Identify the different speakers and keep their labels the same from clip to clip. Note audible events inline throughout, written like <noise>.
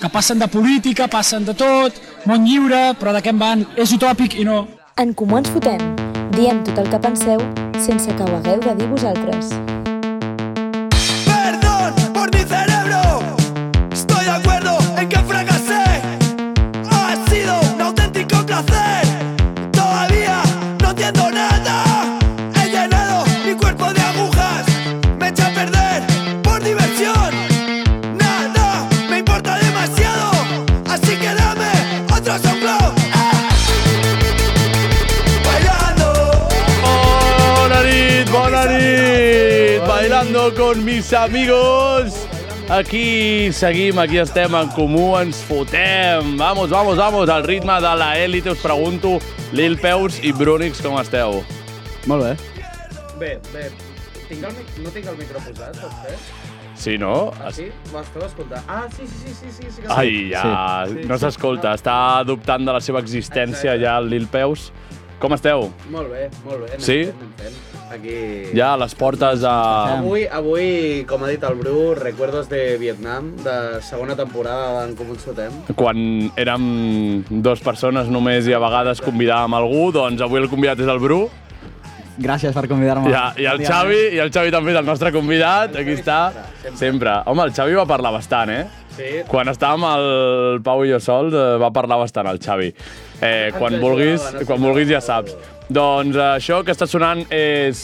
Speaker 1: que passen de política, passen de tot, món lliure, però de què en van? És utòpic i no.
Speaker 2: En Comú Ens Fotem. Diem tot el que penseu sense que ho hagueu de dir vosaltres.
Speaker 3: Perdón por mi cerebro. Estoy de acuerdo en que fracasé. Ha sido un auténtico placer. Todavía no entiendo nada. He llenado mi cuerpo de agujas. Me echa a perder por diversión. Nada me importa demasiado. Así que dame otro soplo. Ah. Bailando.
Speaker 4: Bona nit, bona nit! Bailando con mis amigos! Aquí seguim, aquí estem en comú, ens fotem! Vamos, vamos, vamos, al ritme de la élite. Us pregunto, Lil Peus i Brunix, com esteu?
Speaker 5: Molt bé.
Speaker 6: Bé, bé, tinc el, mic- no tinc el micro posat, potser?
Speaker 4: Sí, no?
Speaker 6: Ah, sí? M'esteu escoltant? Ah, sí, sí, sí, sí, sí, sí que sí.
Speaker 4: Ai, ja,
Speaker 6: Sí.
Speaker 4: no s'escolta. Està dubtant de la seva existència ja el Lil Peus. Com esteu?
Speaker 6: Molt bé, molt bé. anem
Speaker 4: Sí?
Speaker 6: fent, anem fent. Aquí...
Speaker 4: Ja a les portes de...
Speaker 6: Avui, avui, com ha dit el Bru, recuerdos de Vietnam, de segona temporada d'en Comú ens fotem.
Speaker 4: Quan érem dues persones només i a vegades convidàvem algú, doncs avui el convidat és el Bru.
Speaker 5: Gràcies per convidar-me.
Speaker 4: Ja, i el Xavi, i el Xavi també és el nostre convidat, aquí està, sempre. Home, el Xavi va parlar bastant, eh?
Speaker 6: Sí.
Speaker 4: Quan estàvem el Pau i jo sols, eh, va parlar bastant el Xavi. Eh, quan vulguis, quan vulguis ja saps. Doncs eh, això que està sonant és...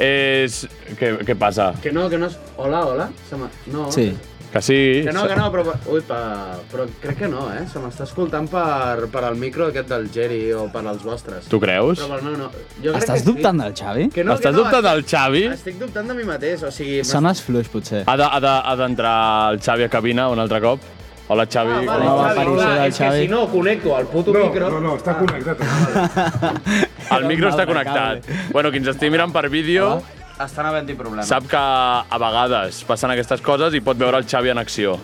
Speaker 4: és... Què, què passa?
Speaker 6: Que no, que no és... Hola, hola? Se m'ha- No.
Speaker 5: Sí.
Speaker 4: Que sí?
Speaker 6: Que no, que no, però... Ui, pa... però crec que no, eh? Se m'està escoltant per, per al micro aquest del Geri o per als vostres.
Speaker 4: Tu creus?
Speaker 6: Però pel meu no. Jo crec
Speaker 5: Estàs
Speaker 6: que sí.
Speaker 5: dubtant del Xavi?
Speaker 6: Que no,
Speaker 4: Estàs
Speaker 6: que no,
Speaker 4: dubtant del Xavi?
Speaker 6: Estic dubtant de mi mateix, o sigui...
Speaker 5: Sones fluix, potser.
Speaker 4: Ha de- ha de- ha d'entrar el Xavi a cabina un altre cop? Hola, Xavi.
Speaker 6: Ah, vale,
Speaker 5: Hola,
Speaker 6: Xavi,
Speaker 5: Aparicio
Speaker 6: clar,
Speaker 5: del
Speaker 6: és que
Speaker 5: Xavi.
Speaker 6: si no connecto al puto micro... No, no, està
Speaker 4: <laughs> El micro està connectat. Bueno, qui ens estigui mirant per vídeo...
Speaker 6: Estan havent-hi problemes.
Speaker 4: Sap que a vegades passen aquestes coses i pot veure el Xavi en acció.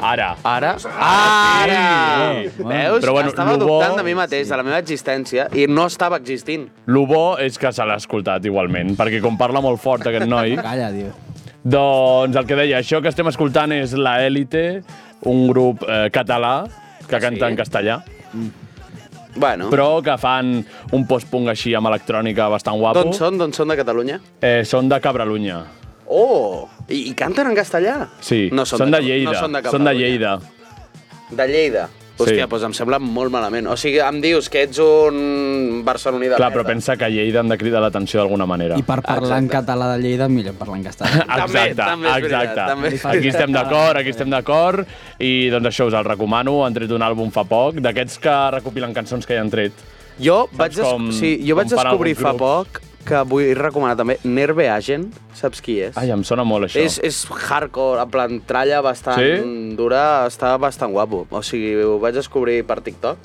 Speaker 4: Ara Ah. mateix.
Speaker 6: Ara?
Speaker 4: Ara. Ara! Sí.
Speaker 6: Ah. Veus?
Speaker 4: Però bueno,
Speaker 6: estava
Speaker 4: lo bo-
Speaker 6: dubtant de mi mateix, de la meva existència, i no estava existint.
Speaker 4: Lo bo és que se l'ha escoltat igualment, perquè com parla molt fort aquest noi,
Speaker 5: Calla, tio.
Speaker 4: doncs el que deia, això que estem escoltant és La Élite, un grup eh, català que canta
Speaker 6: Sí.
Speaker 4: en castellà,
Speaker 6: Bueno,
Speaker 4: però
Speaker 6: Però...
Speaker 4: que fan un post-punk així amb electrònica bastant guapo.
Speaker 6: d'on Doncs són? D'on són de Catalunya?
Speaker 4: Eh, són de Cabralunya.
Speaker 6: Oh! I, I canten en castellà?
Speaker 4: Sí,
Speaker 6: No són,
Speaker 4: són de
Speaker 6: Catalu-
Speaker 4: Lleida.
Speaker 6: No són
Speaker 4: són de
Speaker 6: de, Catalunya.
Speaker 4: Lleida.
Speaker 6: De Lleida. Hòstia, doncs em sembla molt malament. O sigui, em dius que ets un barceloní de
Speaker 4: Clar, però
Speaker 6: merda.
Speaker 4: pensa que a Lleida han de cridar l'atenció d'alguna manera.
Speaker 5: I per parlar en
Speaker 6: Exacte.
Speaker 5: català de Lleida, millor parlar en castellà.
Speaker 6: També,
Speaker 4: Exacte,
Speaker 6: també és veritat,
Speaker 4: exacte.
Speaker 6: també és
Speaker 4: Aquí estem d'acord, aquí estem d'acord. I doncs això us el recomano, han tret un àlbum fa poc, d'aquests que recopilen cançons que hi han tret.
Speaker 6: Jo vaig, des...
Speaker 4: com-
Speaker 6: sí, jo
Speaker 4: com
Speaker 6: vaig
Speaker 4: fan
Speaker 6: descobrir
Speaker 4: alguns
Speaker 6: fa
Speaker 4: grups.
Speaker 6: poc que vull recomanar també Nerve Agent, saps qui és?
Speaker 4: Ai, em sona molt això.
Speaker 6: és, és hardcore, en plan tralla bastant
Speaker 4: Sí?
Speaker 6: dura, està bastant guapo. O sigui, ho vaig descobrir per TikTok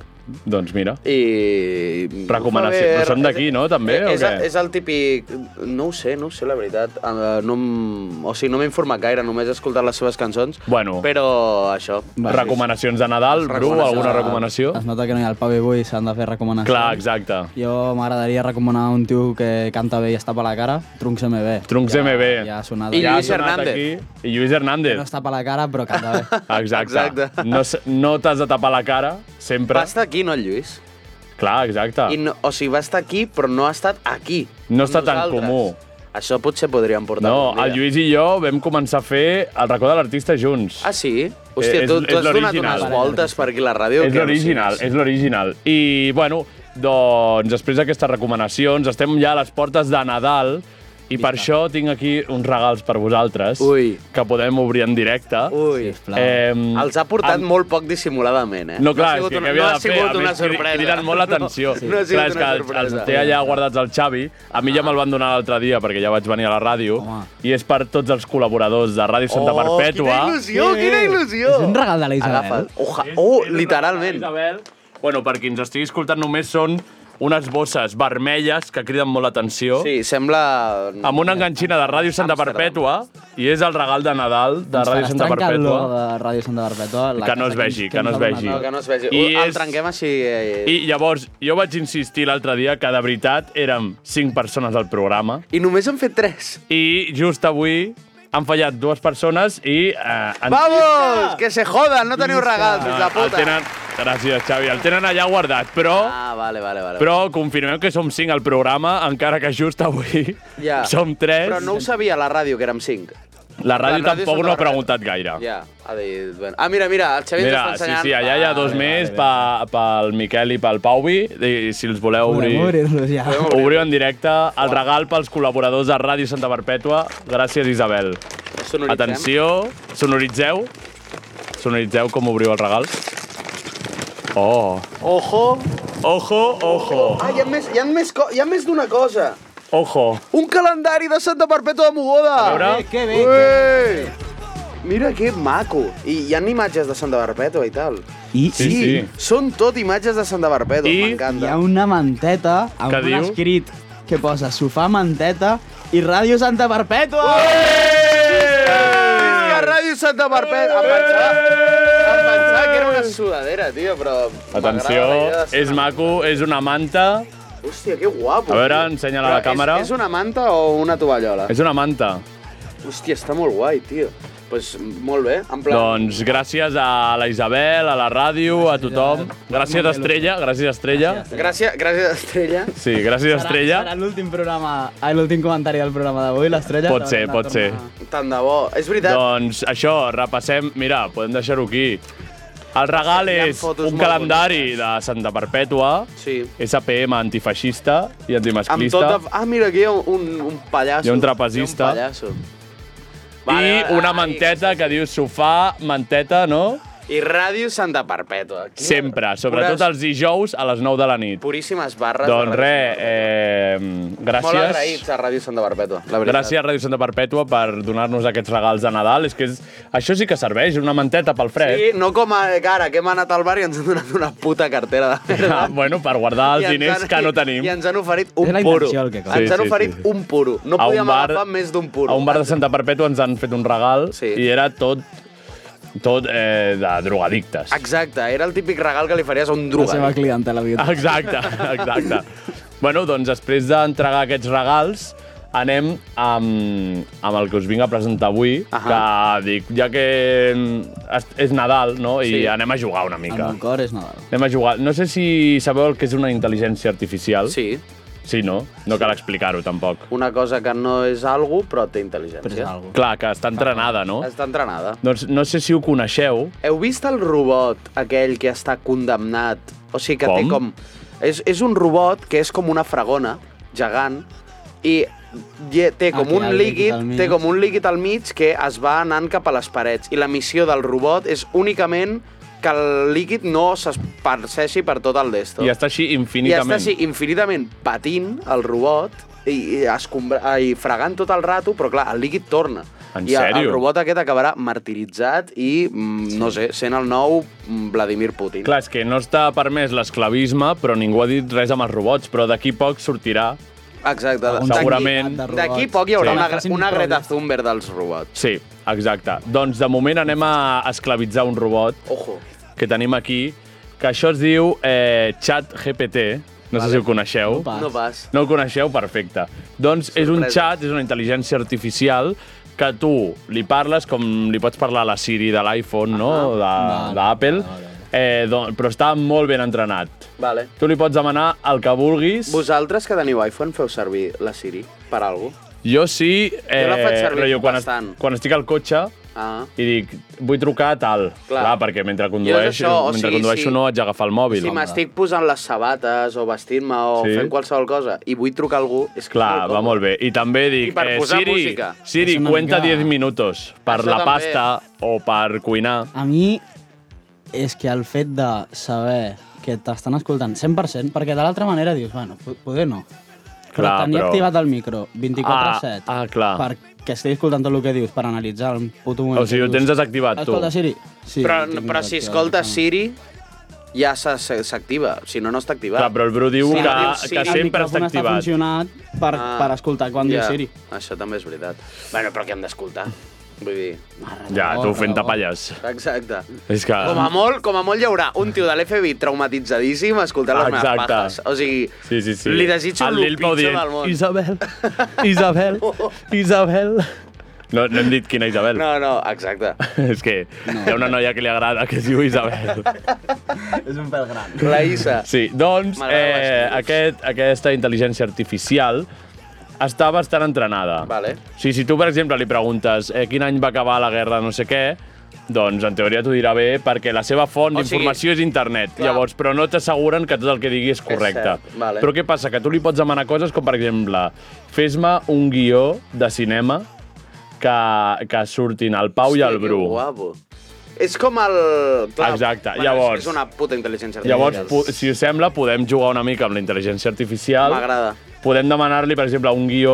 Speaker 4: Doncs mira.
Speaker 6: I...
Speaker 4: Recomanació.
Speaker 6: A
Speaker 4: Però són d'aquí, no, també, o
Speaker 6: És,
Speaker 4: què?
Speaker 6: és el típic... No ho sé, no ho sé, la veritat. Eh, No, em- o sigui, no m'he informat gaire, només he escoltat les seves cançons.
Speaker 4: Bueno.
Speaker 6: Però això...
Speaker 4: Recomanacions de Nadal, Bru,
Speaker 6: Recomanació
Speaker 4: alguna
Speaker 6: de-
Speaker 4: recomanació?
Speaker 5: Es nota que no hi ha el paper avui i s'han de fer recomanacions.
Speaker 4: Clar, exacte.
Speaker 5: Jo m'agradaria recomanar un tio que canta bé i es tapa la cara, Trunks MB.
Speaker 4: Trunks
Speaker 5: ja,
Speaker 4: MB.
Speaker 5: Ja ha sonat.
Speaker 6: I
Speaker 4: Ja ha
Speaker 6: Lluís
Speaker 4: sonat
Speaker 6: Hernández.
Speaker 4: Aquí. I Lluís
Speaker 5: No
Speaker 4: Hernández.
Speaker 5: es tapa la cara, però canta
Speaker 4: <laughs>
Speaker 5: bé.
Speaker 4: Ah, Exacte.
Speaker 6: Exacte.
Speaker 4: No, s- no t'has de tapar la cara, sempre.
Speaker 6: Va estar aquí, no, el Lluís?
Speaker 4: Clar, exacte.
Speaker 6: I no, o sigui, va estar aquí, però no ha estat aquí.
Speaker 4: Ah. No està tan
Speaker 6: Nosaltres. Tota
Speaker 4: comú.
Speaker 6: Això potser podríem portar
Speaker 4: No,
Speaker 6: algun
Speaker 4: el
Speaker 6: dia.
Speaker 4: Lluís i jo vam començar a fer el racó de l'artista junts.
Speaker 6: Ah, sí?
Speaker 4: Eh,
Speaker 6: Hòstia, tu,
Speaker 4: és- és
Speaker 6: tu has donat
Speaker 4: l'original.
Speaker 6: unes voltes per aquí a la ràdio.
Speaker 4: és
Speaker 6: que
Speaker 4: l'original,
Speaker 6: al·lucines.
Speaker 4: és l'original. I, bueno, doncs, després d'aquestes recomanacions, estem ja a les portes de Nadal i per això tinc aquí uns regals per vosaltres
Speaker 6: Ui.
Speaker 4: que podem obrir en directe.
Speaker 6: Ui,
Speaker 5: Sisplau.
Speaker 6: els ha portat molt poc dissimuladament, eh?
Speaker 4: No, clar,
Speaker 6: ha
Speaker 4: és
Speaker 6: sigut
Speaker 4: que
Speaker 6: una,
Speaker 4: què havia
Speaker 6: no
Speaker 4: de
Speaker 6: ha
Speaker 4: fer? A
Speaker 6: sigut una
Speaker 4: més, cridi-
Speaker 6: sorpresa.
Speaker 4: Criden molt l'atenció.
Speaker 6: <laughs> No, no ha sigut
Speaker 4: clar, és
Speaker 6: una
Speaker 4: que els,
Speaker 6: sorpresa.
Speaker 4: els té allà guardats el Xavi. A mi ja me'l van donar l'altre dia, perquè ja vaig venir a la ràdio.
Speaker 5: Home.
Speaker 4: I és per tots els col·laboradors de Ràdio Santa Perpètua.
Speaker 6: Oh, Quina il·lusió, quina il·lusió!
Speaker 5: És un regal de la Isabel.
Speaker 6: Agafa. Oja, oh, literalment.
Speaker 4: Isabel, bueno, per qui ens estigui escoltant, només són unes bosses vermelles que criden molt l'atenció.
Speaker 6: Sí, sembla...
Speaker 4: Amb una enganxina de Ràdio Santa
Speaker 6: Amsterdam.
Speaker 4: Perpètua. I és el regal de Nadal de
Speaker 5: Ens faràs
Speaker 4: Ràdio Santa
Speaker 5: trencar el
Speaker 4: Perpètua.
Speaker 5: logo de Ràdio Santa Perpètua. la
Speaker 4: Que no
Speaker 5: casa
Speaker 4: es vegi,
Speaker 5: ens-
Speaker 4: que no
Speaker 5: ens
Speaker 4: es
Speaker 5: ha
Speaker 4: vegi.
Speaker 6: No,
Speaker 5: donat.
Speaker 6: que no es vegi.
Speaker 4: I
Speaker 6: I
Speaker 4: és-
Speaker 6: El trenquem així... Eh, I...
Speaker 4: I llavors, jo vaig insistir l'altre dia que de veritat érem cinc persones al programa
Speaker 6: I només han fet tres.
Speaker 4: i just avui han fallat dues persones i... Eh, han-
Speaker 6: Vamos! Que se jodan, no teniu regals, fins la
Speaker 4: el
Speaker 6: puta.
Speaker 4: tenen, gràcies, Xavi. El tenen allà guardat, però...
Speaker 6: Ah, vale, vale, vale.
Speaker 4: Però confirmeu que som cinc al programa, encara que just avui
Speaker 6: ja.
Speaker 4: <laughs> som tres.
Speaker 6: Però no ho sabia la ràdio, que érem cinc.
Speaker 4: La ràdio
Speaker 6: La ràdio
Speaker 4: tampoc no
Speaker 6: sota
Speaker 4: ha
Speaker 6: la ràdio.
Speaker 4: preguntat gaire.
Speaker 6: Ja, ha dit... Bueno. Ah, mira, mira, el Xavi ens
Speaker 4: Mira,
Speaker 6: està
Speaker 4: sí,
Speaker 6: ensenyant.
Speaker 4: sí, allà hi ha dos
Speaker 6: Ah,
Speaker 4: més pa- pel Miquel i pel Pauvi. I si els voleu obrir...
Speaker 5: Podem obrir-los ja.
Speaker 4: Obriu en directe el regal pels col·laboradors de Ràdio Santa Perpètua. Gràcies, Isabel.
Speaker 6: sonoritzem.
Speaker 4: Atenció, sonoritzeu. Sonoritzeu com obriu el regal. Oh.
Speaker 6: Ojo.
Speaker 4: Ojo, ojo,
Speaker 6: Ah, hi ha més, hi ha més, co- hi ha més d'una cosa.
Speaker 4: ojo.
Speaker 6: Un calendari de Santa Perpètua de Mogoda.
Speaker 4: A veure. Eh,
Speaker 5: que bé,
Speaker 6: Ué! Mira que maco. I hi ha imatges de Santa Perpètua i tal.
Speaker 5: I
Speaker 4: Sí, sí.
Speaker 6: Són tot imatges de Santa Perpètua,
Speaker 4: I
Speaker 5: hi ha
Speaker 6: m'encanta.
Speaker 5: una manteta amb
Speaker 4: Que
Speaker 5: un
Speaker 4: diu?
Speaker 5: escrit que posa sofà manteta i Ràdio Santa Perpètua.
Speaker 4: Eh!
Speaker 6: Visca Ràdio Santa Perpètua. Em pensava, em pensava que era una sudadera, tio, però... m'agrada
Speaker 4: Eh! Atenció,
Speaker 6: la idea de ser
Speaker 4: és
Speaker 6: una-
Speaker 4: maco, és una manta.
Speaker 6: Hòstia, que guapo.
Speaker 4: A veure,
Speaker 6: tio.
Speaker 4: ensenya-la a la
Speaker 6: Però
Speaker 4: càmera.
Speaker 6: És, és una manta o una tovallola?
Speaker 4: És una manta.
Speaker 6: Hòstia, està molt guai, tio. Pues molt bé, en plan...
Speaker 4: Doncs gràcies a la Isabel, a la ràdio, a tothom. Gràcies, Estrella, gràcies, Estrella.
Speaker 6: Gràcies, gràcies, Estrella.
Speaker 4: Sí, gràcies, Estrella.
Speaker 5: Serà l'últim programa, ai, l'últim comentari del programa d'avui, l'estrella.
Speaker 4: Pot ser,
Speaker 5: la
Speaker 4: pot
Speaker 5: torna-
Speaker 4: ser.
Speaker 6: Tant de bo. És veritat.
Speaker 4: Doncs això, repassem... Mira, podem deixar-ho aquí. El regal
Speaker 6: Hi ha
Speaker 4: és
Speaker 6: fotos
Speaker 4: un
Speaker 6: molt
Speaker 4: calendari de Santa Perpètua,
Speaker 6: Sí.
Speaker 4: SPM antifeixista i
Speaker 6: Amb
Speaker 4: antimasclista,
Speaker 6: tot de... Ah, mira, aquí hi ha un, un pallasso.
Speaker 4: Hi ha un trapezista.
Speaker 6: Hi ha un pallasso.
Speaker 4: i
Speaker 6: Vale, vale,
Speaker 4: una
Speaker 6: ai,
Speaker 4: manteta que diu sofà, manteta, no?
Speaker 6: I Ràdio Santa Perpètua. Quina-
Speaker 4: Sempre, sobretot
Speaker 6: Pures-
Speaker 4: els dijous a les 9 de la nit.
Speaker 6: Puríssimes barres.
Speaker 4: Doncs
Speaker 6: de Ràdio
Speaker 4: res,
Speaker 6: Santa
Speaker 4: eh,
Speaker 6: Perpètua. Molt
Speaker 4: gràcies.
Speaker 6: agraïts a Ràdio Santa Perpètua, la veritat.
Speaker 4: Gràcies, Ràdio Santa Perpètua, per donar-nos aquests regals de Nadal. És que és, això sí que serveix, una manteta pel fred.
Speaker 6: Sí, no com a cara, que hem anat al bar i ens han donat una puta cartera de merda.
Speaker 4: Ah, bueno, per guardar <laughs> els
Speaker 6: I ens
Speaker 4: diners
Speaker 6: han-
Speaker 4: que no tenim.
Speaker 6: I ens han oferit un
Speaker 5: És la
Speaker 6: puro.
Speaker 5: intenció el que
Speaker 4: compta.
Speaker 6: ens han
Speaker 4: Sí, sí,
Speaker 6: oferit
Speaker 4: sí.
Speaker 6: un puro. No
Speaker 4: A un
Speaker 6: podíem
Speaker 4: bar-
Speaker 6: agafar més d'un puro.
Speaker 4: A un bar de Santa Perpètua ens han fet un regal
Speaker 6: Sí.
Speaker 4: i era tot tot eh, de drogadictes.
Speaker 6: Exacte, era el típic regal que li faries a un
Speaker 5: La seva
Speaker 6: drogat.
Speaker 5: clientela, evidentment.
Speaker 4: Exacte, exacte. bueno, doncs després d'entregar aquests regals, anem amb, amb el que us vinc a presentar avui,
Speaker 6: Ahà.
Speaker 4: que dic, ja que mm, es- és Nadal, no?, i
Speaker 6: Sí.
Speaker 4: anem a jugar una
Speaker 5: El
Speaker 4: mica.
Speaker 5: meu cor és Nadal.
Speaker 4: Anem a jugar. No sé si sabeu el que és una intel·ligència artificial.
Speaker 6: Sí,
Speaker 4: Sí, no? No cal explicar-ho, tampoc.
Speaker 6: una cosa que no és algo, però té intel·ligència.
Speaker 5: Però és algo.
Speaker 4: Clar, que està entrenada, no?
Speaker 6: Està entrenada.
Speaker 4: Doncs no sé si ho coneixeu.
Speaker 6: Heu vist el robot aquell que està condemnat? O sigui, que té
Speaker 4: Com?
Speaker 6: com... És, és un robot que és com una fragona gegant i lle- té
Speaker 5: Ah,
Speaker 6: com,
Speaker 5: que hi ha
Speaker 6: un
Speaker 5: el líquid
Speaker 6: líquid,
Speaker 5: al mig.
Speaker 6: té com un líquid al mig que es va anant cap a les parets i la missió del robot és únicament que el líquid no s'esparceixi per tot el desto.
Speaker 4: I està així
Speaker 6: I està
Speaker 4: infinitament.
Speaker 6: així infinitament patint el robot i, i, escombra, i fregant tot el rato, però clar, el líquid torna.
Speaker 4: En
Speaker 6: I el, el
Speaker 4: sèrio?
Speaker 6: robot aquest acabarà martiritzat i, mm, no sé, sent el nou mm, Vladimir Putin.
Speaker 4: Clar, és que no està permès l'esclavisme, però ningú ha dit res amb els robots, però d'aquí poc sortirà.
Speaker 6: Exacte. d'aquí-
Speaker 4: Ah, Segurament.
Speaker 6: D'aquí poc hi haurà
Speaker 4: Sí.
Speaker 6: sí. una, una Greta Thunberg dels robots.
Speaker 4: Sí, exacte. Doncs de moment anem a esclavitzar un robot
Speaker 6: Ojo.
Speaker 4: que tenim aquí, que això es diu eh, Chat GPT. No sé si ho coneixeu.
Speaker 5: No pas.
Speaker 6: No pas.
Speaker 4: No ho coneixeu? Perfecte. Doncs és un
Speaker 6: Sorpresa.
Speaker 4: xat, és una intel·ligència artificial que tu li parles com li pots parlar a la Siri de l'iPhone, no? De- D'Apple. Eh, don- però està molt ben entrenat.
Speaker 6: Vale.
Speaker 4: Tu li pots demanar el que vulguis.
Speaker 6: Vosaltres que teniu iPhone feu servir la Siri per alguna cosa?
Speaker 4: Jo sí, eh,
Speaker 6: la faig servir
Speaker 4: rotllo, quan, es-
Speaker 6: bastant.
Speaker 4: quan estic al cotxe
Speaker 6: Ah.
Speaker 4: i dic, vull trucar a tal.
Speaker 6: Clar.
Speaker 4: Clar, perquè mentre
Speaker 6: Jo és
Speaker 4: condueixo,
Speaker 6: això, o
Speaker 4: mentre
Speaker 6: sigui,
Speaker 4: condueixo
Speaker 6: si-
Speaker 4: no haig d'agafar el mòbil.
Speaker 6: Si
Speaker 4: home.
Speaker 6: m'estic posant les sabates o vestint-me o
Speaker 4: Sí.
Speaker 6: sí. fent qualsevol cosa i vull trucar a algú, és que
Speaker 4: Clar,
Speaker 6: és
Speaker 4: va molt bé. I també dic,
Speaker 6: I per
Speaker 4: eh,
Speaker 6: posar
Speaker 4: Siri,
Speaker 6: música.
Speaker 4: Siri,
Speaker 5: És una
Speaker 4: cuenta
Speaker 5: mica-
Speaker 4: 10 minutos per
Speaker 6: Això
Speaker 4: la
Speaker 6: també.
Speaker 4: pasta o per cuinar.
Speaker 5: A mi és que el fet de saber que t'estan escoltant 100%, perquè de l'altra manera dius, bueno, po- poder no. Però
Speaker 4: Clar,
Speaker 5: tenir
Speaker 4: però-
Speaker 5: activat el micro 24-7
Speaker 4: Ah, ah, clar.
Speaker 5: perquè estigui escoltant tot el que dius per analitzar el puto moment.
Speaker 4: O sigui, ho
Speaker 5: que dius.
Speaker 4: tens desactivat, tu.
Speaker 5: Escolta, Siri. Sí,
Speaker 6: Però,
Speaker 5: ho tinc
Speaker 6: però si
Speaker 5: desactivat.
Speaker 6: escoltes Siri, ja se- se- s'activa. Si no, no està activat.
Speaker 4: Clar, però el Bru diu
Speaker 6: Sí,
Speaker 4: que,
Speaker 6: diu Siri.
Speaker 4: que
Speaker 6: El
Speaker 4: sempre està
Speaker 5: micròfon està
Speaker 4: activat.
Speaker 5: funcionat per,
Speaker 6: Ah.
Speaker 5: per escoltar quan diu Siri.
Speaker 6: Això també és veritat. Bueno, però què hem d'escoltar? Vull dir...
Speaker 4: Ja, tu
Speaker 5: Oh,
Speaker 4: fent
Speaker 5: bravo.
Speaker 4: tapalles.
Speaker 6: Exacte.
Speaker 4: És que...
Speaker 6: Com a molt, com a molt hi haurà un tio de l'FB traumatitzadíssim escoltant les meves
Speaker 4: Exacte.
Speaker 6: pajas. O sigui,
Speaker 4: Sí, sí, sí.
Speaker 6: li desitjo el,
Speaker 4: Lil Pau
Speaker 6: pitjor
Speaker 4: dient,
Speaker 6: del món.
Speaker 4: Isabel,
Speaker 6: <laughs>
Speaker 4: Isabel, Isabel... No, no hem dit quina Isabel.
Speaker 6: No, no, exacte.
Speaker 4: <laughs> És que hi ha una noia que li agrada que es diu Isabel.
Speaker 5: És un pèl gran.
Speaker 6: La Isa.
Speaker 4: <laughs> Sí, doncs
Speaker 6: M'agraden les
Speaker 4: eh,
Speaker 6: tribus.
Speaker 4: aquest, aquesta intel·ligència artificial està bastant entrenada.
Speaker 6: Vale.
Speaker 4: O sigui, si tu, per exemple, li preguntes eh, quin any va acabar la guerra de no sé què, doncs en teoria t'ho dirà bé perquè la seva font
Speaker 6: O
Speaker 4: d'informació és internet.
Speaker 6: clar.
Speaker 4: Llavors, però no t'asseguren que tot el que digui és correcte.
Speaker 6: cert, vale.
Speaker 4: Però què passa? Que tu li pots demanar coses com, per exemple, fes-me un guió de cinema que, que surtin el Pau i el
Speaker 6: Hosti, que
Speaker 4: Bru.
Speaker 6: Guapo. És com el...
Speaker 4: Exacte,
Speaker 6: bueno,
Speaker 4: llavors-
Speaker 6: És, és una puta intel·ligència
Speaker 4: Llavors,
Speaker 6: artificial.
Speaker 4: po- si us sembla, podem jugar una mica amb la intel·ligència artificial.
Speaker 6: M'agrada.
Speaker 4: Podem demanar-li, per exemple, un guió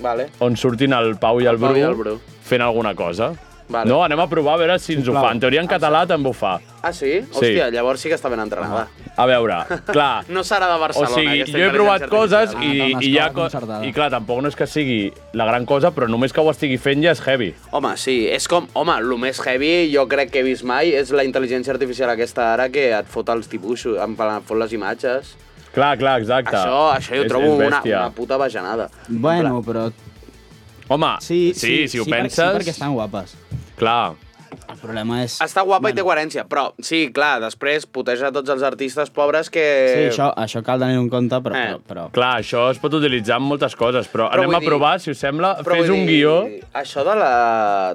Speaker 6: Vale.
Speaker 4: on surtin el Pau i el,
Speaker 6: Pau
Speaker 4: Bru,
Speaker 6: i el Bru.
Speaker 4: fent alguna cosa.
Speaker 6: Vale.
Speaker 4: No, anem a provar a veure si ens ho fa. En teoria en català també ho fa.
Speaker 6: Ah, sí? Hòstia, llavors sí que està ben entrenada.
Speaker 4: A veure, clar...
Speaker 6: <laughs> No serà de
Speaker 4: Ah. o
Speaker 6: Barcelona,
Speaker 4: sigui,
Speaker 6: aquesta
Speaker 4: jo he provat
Speaker 6: intel·ligència
Speaker 4: coses
Speaker 6: artificial.
Speaker 4: i,
Speaker 5: Ah,
Speaker 4: i, ja,
Speaker 5: escola
Speaker 4: co-
Speaker 5: concertada.
Speaker 4: i clar, tampoc no és que sigui la gran cosa, però només que ho estigui fent ja és heavy.
Speaker 6: Home, sí, és com... Home, el més heavy jo crec que he vist mai és la intel·ligència artificial aquesta ara que et fot els dibuixos, em fa- et fot les imatges.
Speaker 4: Clar, clar, exacte.
Speaker 6: Això, això jo
Speaker 4: És-
Speaker 6: trobo
Speaker 4: és
Speaker 6: una,
Speaker 4: bèstia.
Speaker 6: una puta bajanada.
Speaker 5: Bueno, però...
Speaker 4: Home,
Speaker 5: Sí,
Speaker 4: sí, si ho
Speaker 5: sí, perquè-
Speaker 4: penses...
Speaker 5: Sí, perquè estan guapes.
Speaker 4: Clar,
Speaker 5: El problema és...
Speaker 6: Està guapa i té coherència, però sí, clar, després puteja tots els artistes pobres que...
Speaker 4: Eh,
Speaker 5: Sí, això, això cal tenir en compte, però...
Speaker 6: Eh.
Speaker 5: Eh. però, però...
Speaker 4: clar, això es pot utilitzar en moltes coses, però,
Speaker 6: Però
Speaker 4: anem
Speaker 6: vull
Speaker 4: a
Speaker 6: dir-
Speaker 4: provar, si us sembla,
Speaker 6: Però
Speaker 4: fes
Speaker 6: vull
Speaker 4: un
Speaker 6: dir,
Speaker 4: guió...
Speaker 6: Això de, la,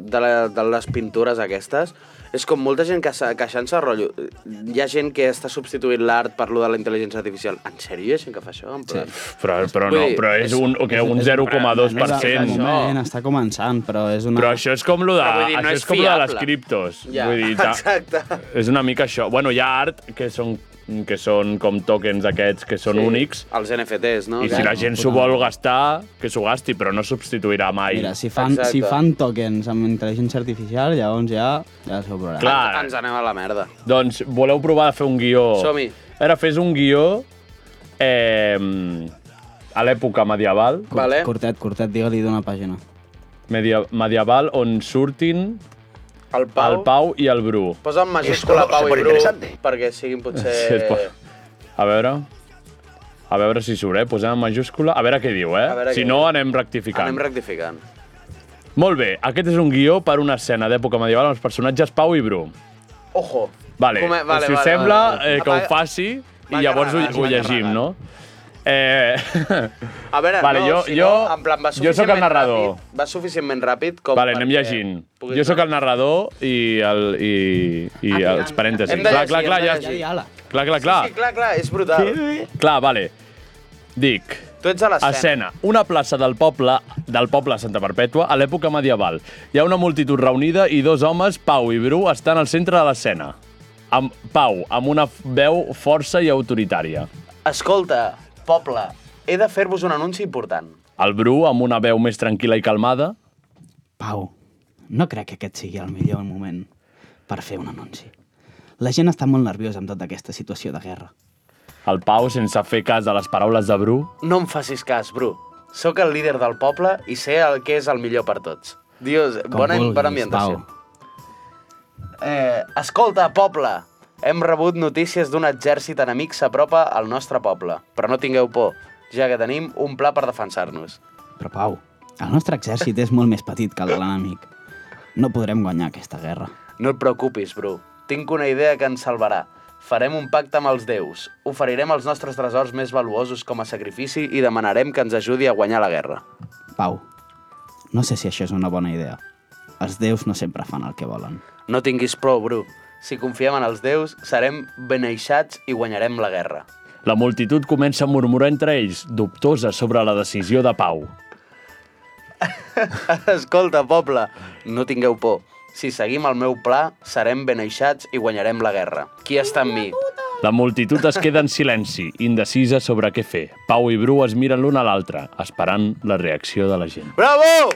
Speaker 6: de, la, de les pintures aquestes, és com molta gent que s'ha- queixant-se de rotllo. Hi ha gent que està substituint l'art per lo de la intel·ligència artificial. En sèrio hi ha gent que fa això? En plan... Sí.
Speaker 4: Però, però
Speaker 6: Vull
Speaker 4: no,
Speaker 6: dir,
Speaker 4: però és
Speaker 6: és-
Speaker 4: un, o què, un
Speaker 5: Bueno,
Speaker 4: 0,2%.
Speaker 5: és un moment, està començant, però és una...
Speaker 4: Però això és com lo de,
Speaker 6: Però vull dir, no
Speaker 4: això
Speaker 6: és
Speaker 4: és, com lo de les
Speaker 6: fiable.
Speaker 4: criptos.
Speaker 6: Ja,
Speaker 4: Vull dir, ta-
Speaker 6: exacte.
Speaker 4: És una mica això. Bueno, hi ha art que són, que són com tokens aquests, que són únics,
Speaker 6: Els NFTs, no?
Speaker 4: i si la gent s'ho vol gastar, que s'ho gasti, però no substituirà mai.
Speaker 5: Mira, si fan,
Speaker 6: Exacte.
Speaker 5: si fan tokens amb intel·ligència artificial, llavors ja, ja és el seu problema.
Speaker 4: Clar.
Speaker 6: Ens, ens anem a la merda.
Speaker 4: Doncs voleu provar de fer un guió...
Speaker 6: Som-hi.
Speaker 4: Ara, fes un guió eh, a l'època medieval,
Speaker 5: Curt-
Speaker 6: Vale.
Speaker 5: Curtet, curtet, digue-li d'una pàgina.
Speaker 4: media, medieval on surtin
Speaker 6: El Pau...
Speaker 4: Pau. el Pau i el Bru.
Speaker 6: Posa en majúscula Pau i Bru, perquè siguin potser...
Speaker 4: <laughs> Sí, et pot- A veure... A veure si surt, eh? Posem en majúscula. A veure què diu, eh?
Speaker 6: A veure
Speaker 4: Si
Speaker 6: què
Speaker 4: no,
Speaker 6: diu.
Speaker 4: anem rectificant.
Speaker 6: Anem rectificant.
Speaker 4: Molt bé, aquest és un guió per una escena d'època medieval amb els personatges Pau i Bru.
Speaker 6: Ojo.
Speaker 4: Vale,
Speaker 6: Come-
Speaker 4: si us sembla Eh, que ho
Speaker 6: Apaga-
Speaker 4: faci i
Speaker 6: Va
Speaker 4: llavors ho,
Speaker 6: carregant,
Speaker 4: ho
Speaker 6: va
Speaker 4: llegim,
Speaker 6: carregant.
Speaker 4: no? Eh... <laughs>
Speaker 6: A veure,
Speaker 4: Vale,
Speaker 6: no,
Speaker 4: jo-
Speaker 6: si
Speaker 4: jo-
Speaker 6: no, en plan, va
Speaker 4: jo sóc el
Speaker 6: suficientment
Speaker 4: narrador.
Speaker 6: Ràpid, va suficientment ràpid com
Speaker 4: vale, anem
Speaker 6: perquè
Speaker 4: llegint.
Speaker 6: puguis-
Speaker 4: Jo sóc el narrador i, el, i, i els parèntesis.
Speaker 6: Hem de
Speaker 4: Clar,
Speaker 6: llegir,
Speaker 4: clar, clar,
Speaker 6: hem de
Speaker 4: ja...
Speaker 6: llegir.
Speaker 5: diàleg.
Speaker 4: Clar, clar, clar.
Speaker 6: Sí, clar, clar, és brutal.
Speaker 4: Clar, vale. Dic...
Speaker 6: Tu ets a l'escena.
Speaker 4: Escena. Una plaça del poble del poble de Santa Perpètua a l'època medieval. Hi ha una multitud reunida i dos homes, Pau i Bru, estan al centre de l'escena. Amb Pau, amb una f- veu força i autoritària.
Speaker 6: Escolta, poble, he de fer-vos un anunci important.
Speaker 4: El Bru, amb una veu més tranquil·la i calmada.
Speaker 5: Pau, no crec que aquest sigui el millor moment per fer un anunci. La gent està molt nerviosa amb tota aquesta situació de guerra.
Speaker 4: El Pau, sense fer cas de les paraules de Bru,
Speaker 6: No em facis cas, Bru. Sóc el líder del poble i sé el que és el millor per tots. Dios,
Speaker 5: Com
Speaker 6: bona,
Speaker 5: vulguis,
Speaker 6: bona ambientació. Eh, escolta, poble! Hem rebut notícies d'un exèrcit enemic s'apropa al nostre poble. Però no tingueu por, ja que tenim un pla per defensar-nos.
Speaker 5: Però, Pau, el nostre exèrcit és molt més petit que el de l'enemic. No podrem guanyar aquesta guerra.
Speaker 6: No et preocupis, Bru. Tinc una idea que ens salvarà. Farem un pacte amb els déus. Oferirem els nostres tresors més valuosos com a sacrifici i demanarem que ens ajudi a guanyar la guerra.
Speaker 5: Pau, no sé si això és una bona idea. Els déus no sempre fan el que volen.
Speaker 6: No tinguis prou, Bru. Si confiem en els déus, serem beneixats i guanyarem la guerra.
Speaker 4: la multitud comença a murmurar entre ells, dubtosa sobre la decisió de Pau.
Speaker 6: <laughs> Escolta, poble, no tingueu por. Si seguim el meu pla, serem beneixats i guanyarem la guerra. Qui està amb mi?
Speaker 4: La multitud es queda en silenci, indecisa sobre què fer. Pau i Bru es miren l'un a l'altre, esperant la reacció de la gent.
Speaker 6: Bravo!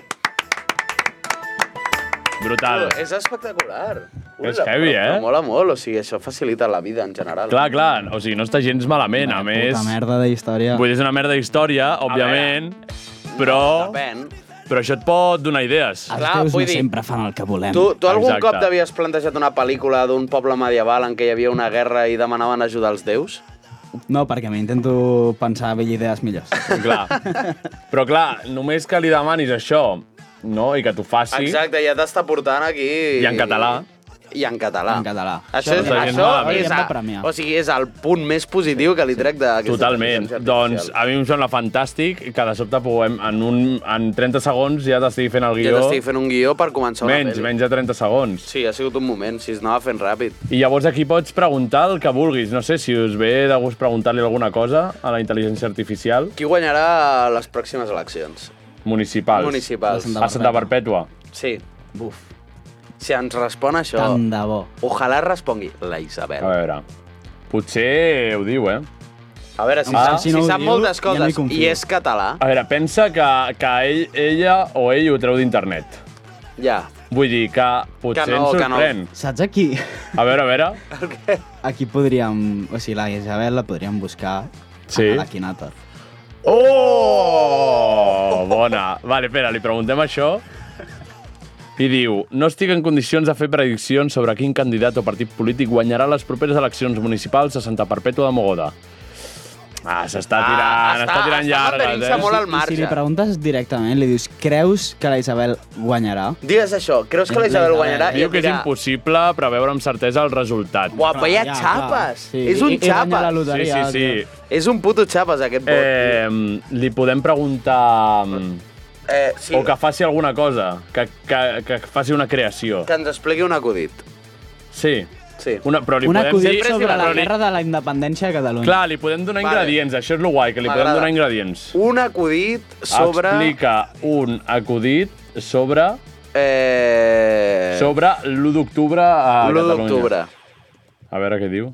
Speaker 4: Brutal.
Speaker 6: És espectacular.
Speaker 4: És heavy,
Speaker 6: però- però
Speaker 4: eh?
Speaker 6: Mola molt, o sigui, això facilita la vida en general.
Speaker 4: Clar, clar, o sigui, no està gens malament, a més...
Speaker 5: Puta merda de història.
Speaker 4: Vull dir, és una merda d'història, òbviament, però,
Speaker 6: Depèn.
Speaker 4: però això et pot donar idees.
Speaker 5: Els
Speaker 6: Clar,
Speaker 5: déus
Speaker 6: vull
Speaker 5: no
Speaker 6: dir-
Speaker 5: sempre fan el que volem.
Speaker 6: Tu, tu algun
Speaker 4: Exacte.
Speaker 6: cop t'havies plantejat una pel·lícula d'un poble medieval en què hi havia una guerra i demanaven ajudar els déus?
Speaker 5: No, perquè m'intento pensar bé idees millors.
Speaker 4: Oh. Clar. Però clar, només que li demanis això, no?, i que t'ho faci...
Speaker 6: Exacte, ja t'està portant aquí...
Speaker 4: I en català.
Speaker 6: I en català.
Speaker 5: En català.
Speaker 6: Això,
Speaker 4: Això
Speaker 6: és,
Speaker 4: està gent
Speaker 6: això
Speaker 4: malament.
Speaker 6: és,
Speaker 5: Hem de
Speaker 6: a,
Speaker 5: premiar.
Speaker 6: o sigui, és el punt més positiu que li trec de...
Speaker 4: Totalment. Doncs a
Speaker 6: A...
Speaker 4: mi em sembla fantàstic que de sobte puguem, en, un, en 30 segons ja t'estigui fent el
Speaker 6: Jo
Speaker 4: guió.
Speaker 6: t'estic fent un guió per començar una
Speaker 4: menys,
Speaker 6: pel·li.
Speaker 4: menys de 30 segons.
Speaker 6: Sí, ha sigut un moment, si es anava fent ràpid.
Speaker 4: I llavors aquí pots preguntar el que vulguis. No sé si us ve de gust preguntar-li alguna cosa a la intel·ligència artificial
Speaker 6: Qui guanyarà les pròximes eleccions?
Speaker 4: municipals.
Speaker 6: Municipals.
Speaker 4: A Santa Perpètua.
Speaker 6: Sí.
Speaker 5: Buf,
Speaker 6: Si ens respon això,
Speaker 5: tant de bo.
Speaker 6: ojalà respongui la Isabel.
Speaker 4: A veure. Potser ho diu, eh?
Speaker 6: A veure, si,
Speaker 4: Ah.
Speaker 6: sap,
Speaker 5: Si
Speaker 6: si,
Speaker 5: no ho
Speaker 6: sap
Speaker 5: diu,
Speaker 6: moltes
Speaker 5: ja no hi
Speaker 6: coses
Speaker 5: confio.
Speaker 6: i és català,
Speaker 4: A veure, pensa que, que ell, ella o ell ho treu d'internet.
Speaker 6: ja.
Speaker 4: Vull dir que potser
Speaker 6: no,
Speaker 4: ens
Speaker 6: que no.
Speaker 4: sorprèn.
Speaker 5: Saps aquí?
Speaker 4: A veure, a <laughs> veure.
Speaker 5: Aquí podríem... O sigui, la Isabel la podríem buscar
Speaker 4: Sí.
Speaker 5: a la Quinata.
Speaker 4: Oh! Bona. Vale, espera, li preguntem això. I diu, no estic en condicions de fer prediccions sobre quin candidat o partit polític guanyarà les properes eleccions municipals a Santa Perpètua de Mogoda. Ah, s'està tirant, està, tirant llargues,
Speaker 6: mantenint-se
Speaker 4: eh?
Speaker 6: molt al
Speaker 5: I si
Speaker 6: marge.
Speaker 5: li preguntes directament, li dius, creus que la Isabel guanyarà?
Speaker 6: Digues això, creus que la Isabel guanyarà? I
Speaker 4: Diu que és
Speaker 6: dirà,
Speaker 4: impossible preveure amb certesa el resultat.
Speaker 6: Buah, però hi ha
Speaker 5: Ja, clar,
Speaker 6: xapes. És
Speaker 5: I-
Speaker 6: un
Speaker 5: i guanya
Speaker 4: Sí, Ah,
Speaker 6: xapa.
Speaker 5: la
Speaker 4: sí,
Speaker 5: loteria,
Speaker 4: sí.
Speaker 5: tio.
Speaker 6: És un puto xapes, aquest vot.
Speaker 4: Eh, li podem preguntar... mm,
Speaker 6: eh, sí,
Speaker 4: O que faci alguna cosa, que, que, que faci una creació.
Speaker 6: que ens expliqui un acudit.
Speaker 4: Sí.
Speaker 6: Sí.
Speaker 4: Una, però li
Speaker 5: Un
Speaker 4: podem
Speaker 5: acudit
Speaker 4: dir...
Speaker 5: sobre la
Speaker 4: però li-
Speaker 5: guerra de la independència de Catalunya.
Speaker 4: Mm. Clar, li podem donar
Speaker 6: Vale.
Speaker 4: ingredients, això és lo guai, que li podem
Speaker 6: M'agrada.
Speaker 4: donar ingredients.
Speaker 6: Un acudit sobre...
Speaker 4: Explica un acudit sobre
Speaker 6: Eh...
Speaker 4: sobre l'1 d'octubre a
Speaker 6: l'1
Speaker 4: Catalunya.
Speaker 6: d'octubre.
Speaker 4: A veure què diu.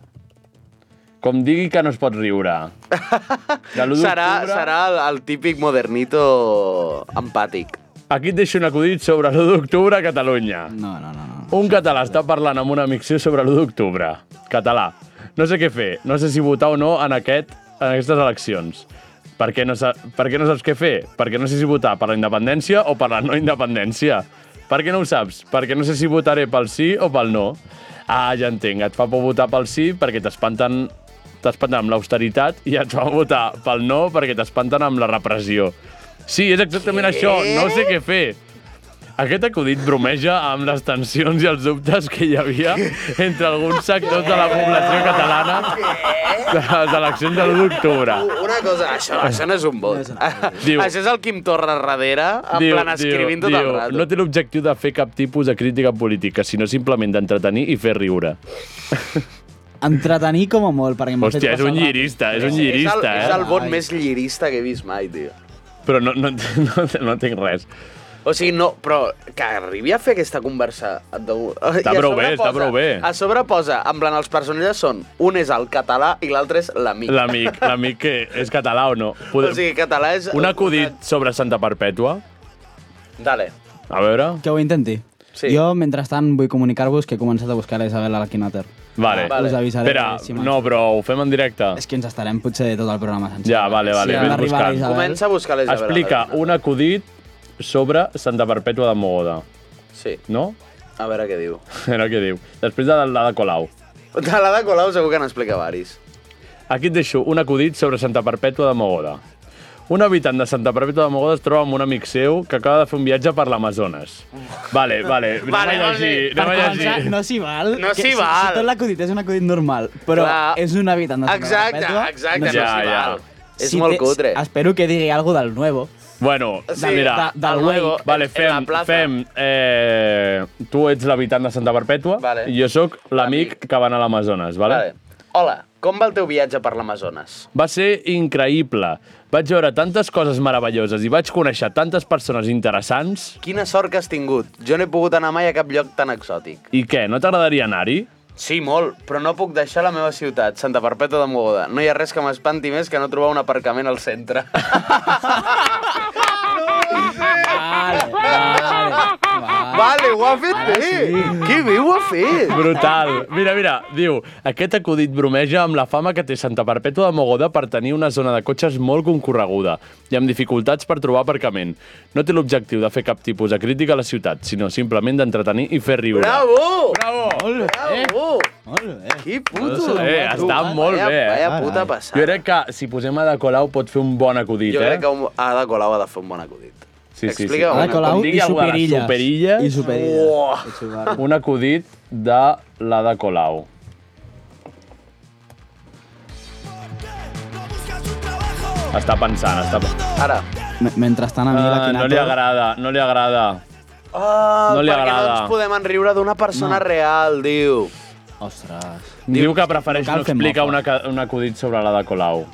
Speaker 4: Com digui que no es pot riure.
Speaker 6: <laughs>
Speaker 4: De l'1
Speaker 6: Serà,
Speaker 4: d'octubre-
Speaker 6: serà el, el típic modernito empàtic.
Speaker 4: Aquí et deixo un acudit sobre l'1 d'octubre a Catalunya.
Speaker 5: No, no, no. no.
Speaker 4: Un català està parlant amb un amic seu sobre l'1 d'octubre. Català. No sé què fer, no sé si votar o no en, aquest, en aquestes eleccions. Per què, no sa per què no saps què fer? Perquè no sé si votar per la independència o per la no independència. Per què no ho saps? Perquè no sé si votaré pel sí o pel no. Ah, ja entenc, et fa por votar pel sí perquè t'espanten t'espanten amb l'austeritat i et fa votar pel no perquè t'espanten amb la repressió. Sí, és exactament això, no sé què fer. Aquest acudit bromeja amb les tensions i els dubtes que hi havia entre alguns sectors de la població catalana de les eleccions de l'1 d'octubre.
Speaker 6: Una cosa, això, això no és un vot. <laughs>
Speaker 4: Diu-
Speaker 6: això és el Quim Torra darrere, en diu, plan escrivint tot el rato.
Speaker 4: no té l'objectiu de fer cap tipus de crítica política, sinó simplement d'entretenir i fer riure.
Speaker 5: Entretenir com a molt, perquè m'ha fet
Speaker 4: Hòstia, és
Speaker 5: passar
Speaker 4: un
Speaker 5: la-
Speaker 4: llirista, eh? és un
Speaker 6: és el,
Speaker 4: llirista,
Speaker 6: és
Speaker 4: eh?
Speaker 6: el vot més llirista que he vist mai, tio.
Speaker 4: Però no, no, no, no entenc res.
Speaker 6: O sigui, no, però que arribi a fer aquesta conversa... De...
Speaker 4: Està prou bé, està prou bé.
Speaker 6: A sobre posa, en plan, els personatges són... Un és el català i l'altre és l'amic.
Speaker 4: L'amic, l'amic que és català o no?
Speaker 6: O sigui, català és...
Speaker 4: Un acudit sobre Santa Perpètua?
Speaker 6: Dale.
Speaker 4: A veure...
Speaker 5: Ah, Que ho intenti.
Speaker 6: Sí.
Speaker 5: Jo, mentrestant, vull comunicar-vos que he començat a buscar la Isabel a la Quinater.
Speaker 4: Vale.
Speaker 6: Vale.
Speaker 5: Us avisaré.
Speaker 4: Espera,
Speaker 5: si mai.
Speaker 4: no, però ho fem en directe.
Speaker 5: És que ens estarem potser tot el programa sencer.
Speaker 4: Ah. Ja, vale, vale,
Speaker 5: Si
Speaker 4: vés
Speaker 5: ha d'arribar
Speaker 4: buscant.
Speaker 5: l'Isabel-
Speaker 6: Comença a buscar l'Isabel.
Speaker 4: Explica
Speaker 6: Adriana.
Speaker 4: un acudit sobre Santa Perpètua de Mogoda,
Speaker 6: Sí,
Speaker 4: no? <laughs>
Speaker 6: a veure què diu.
Speaker 4: Era el que diu. Després de la de Colau.
Speaker 6: De la de Colau segur que n'explica varis.
Speaker 4: Aquí et deixo un acudit sobre Santa Perpètua de Mogoda. Un habitant de Santa Perpètua de Mogoda es troba amb un amic seu que acaba de fer un viatge per l'Amazones. Vale, vale, anem
Speaker 6: Vale,
Speaker 4: a
Speaker 6: vale.
Speaker 4: llegir,
Speaker 5: Per
Speaker 4: anem a
Speaker 5: començar,
Speaker 4: llegir.
Speaker 5: no s'hi val.
Speaker 6: No
Speaker 5: que
Speaker 6: s'hi
Speaker 5: si-
Speaker 6: val.
Speaker 5: Si tot l'acudit és un acudit normal, però
Speaker 6: Clar.
Speaker 5: és un habitant de Santa
Speaker 6: Exacte,
Speaker 5: Perpètua,
Speaker 6: exacte,
Speaker 5: no
Speaker 6: no,
Speaker 5: s'hi
Speaker 4: Ja,
Speaker 6: s'hi
Speaker 4: ja.
Speaker 6: val.
Speaker 5: val.
Speaker 6: És
Speaker 5: Si
Speaker 6: molt
Speaker 5: té-
Speaker 6: cutre.
Speaker 5: Espero que digui algo del nuevo.
Speaker 4: Bueno,
Speaker 6: Sí,
Speaker 4: mira,
Speaker 5: de- del
Speaker 6: el
Speaker 5: Wake.
Speaker 6: nuevo,
Speaker 4: vale,
Speaker 6: en la
Speaker 4: fem,
Speaker 6: plaza.
Speaker 4: fem eh, tu ets l'habitant de Santa Perpètua
Speaker 6: Vale.
Speaker 4: i jo sóc l'amic que va anar a l'Amazones, vale?
Speaker 6: Vale. Hola, com va el teu viatge per l'Amazones?
Speaker 4: Va ser increïble. Vaig veure tantes coses meravelloses i vaig conèixer tantes persones interessants.
Speaker 6: Quina sort que has tingut. Jo no he pogut anar mai a cap lloc tan exòtic.
Speaker 4: I què, no t'agradaria anar-hi?
Speaker 6: Sí, molt, però no puc deixar la meva ciutat, Santa Perpètua de Mogoda. No hi ha res que m'espanti més que no trobar un aparcament al
Speaker 5: <laughs>
Speaker 6: centre.
Speaker 5: Vale, vale, vale.
Speaker 6: vale, ho ha fet bé! Qui viu ho ha fet?
Speaker 4: Brutal. Mira, mira, diu, aquest acudit bromeja amb la fama que té Santa Perpètua de Mogoda per tenir una zona de cotxes molt concorreguda i amb dificultats per trobar aparcament. No té l'objectiu de fer cap tipus de crítica a la ciutat, sinó simplement d'entretenir i fer riure.
Speaker 6: Bravo!
Speaker 4: Bravo!
Speaker 5: Molt bé,
Speaker 6: Bravo!
Speaker 5: molt bé.
Speaker 6: Qui puto!
Speaker 4: Molt bé,
Speaker 6: tu.
Speaker 4: està molt
Speaker 6: Vaya-
Speaker 4: bé, eh?
Speaker 6: Vaya puta passada.
Speaker 4: Jo crec que si posem a De Colau pot fer un bon acudit,
Speaker 6: Jo
Speaker 4: eh?
Speaker 6: crec que un- Ada Colau ha de fer un bon acudit.
Speaker 4: Sí, sí, sí.
Speaker 6: Explica
Speaker 5: Ada
Speaker 6: un-
Speaker 5: Colau
Speaker 4: Com digui
Speaker 5: i
Speaker 4: algú de les
Speaker 5: Superilles.
Speaker 4: Superilles.
Speaker 5: I Superilles.
Speaker 6: Uah.
Speaker 5: Pots jugar.
Speaker 4: un acudit de l'Ada Colau. Està pensant, està...
Speaker 6: Ara.
Speaker 5: M- Mentrestant, a mi la
Speaker 4: Uh, no li
Speaker 5: Quinator-
Speaker 4: agrada, no li agrada.
Speaker 6: Ah,
Speaker 4: No li
Speaker 6: perquè
Speaker 4: agrada.
Speaker 6: no ens podem enriure d'una persona real, diu.
Speaker 5: Ostres.
Speaker 4: Diu que prefereix
Speaker 5: cal
Speaker 4: no
Speaker 5: fer
Speaker 4: explicar
Speaker 5: mofa.
Speaker 4: una, ca- un acudit sobre l'Ada Colau.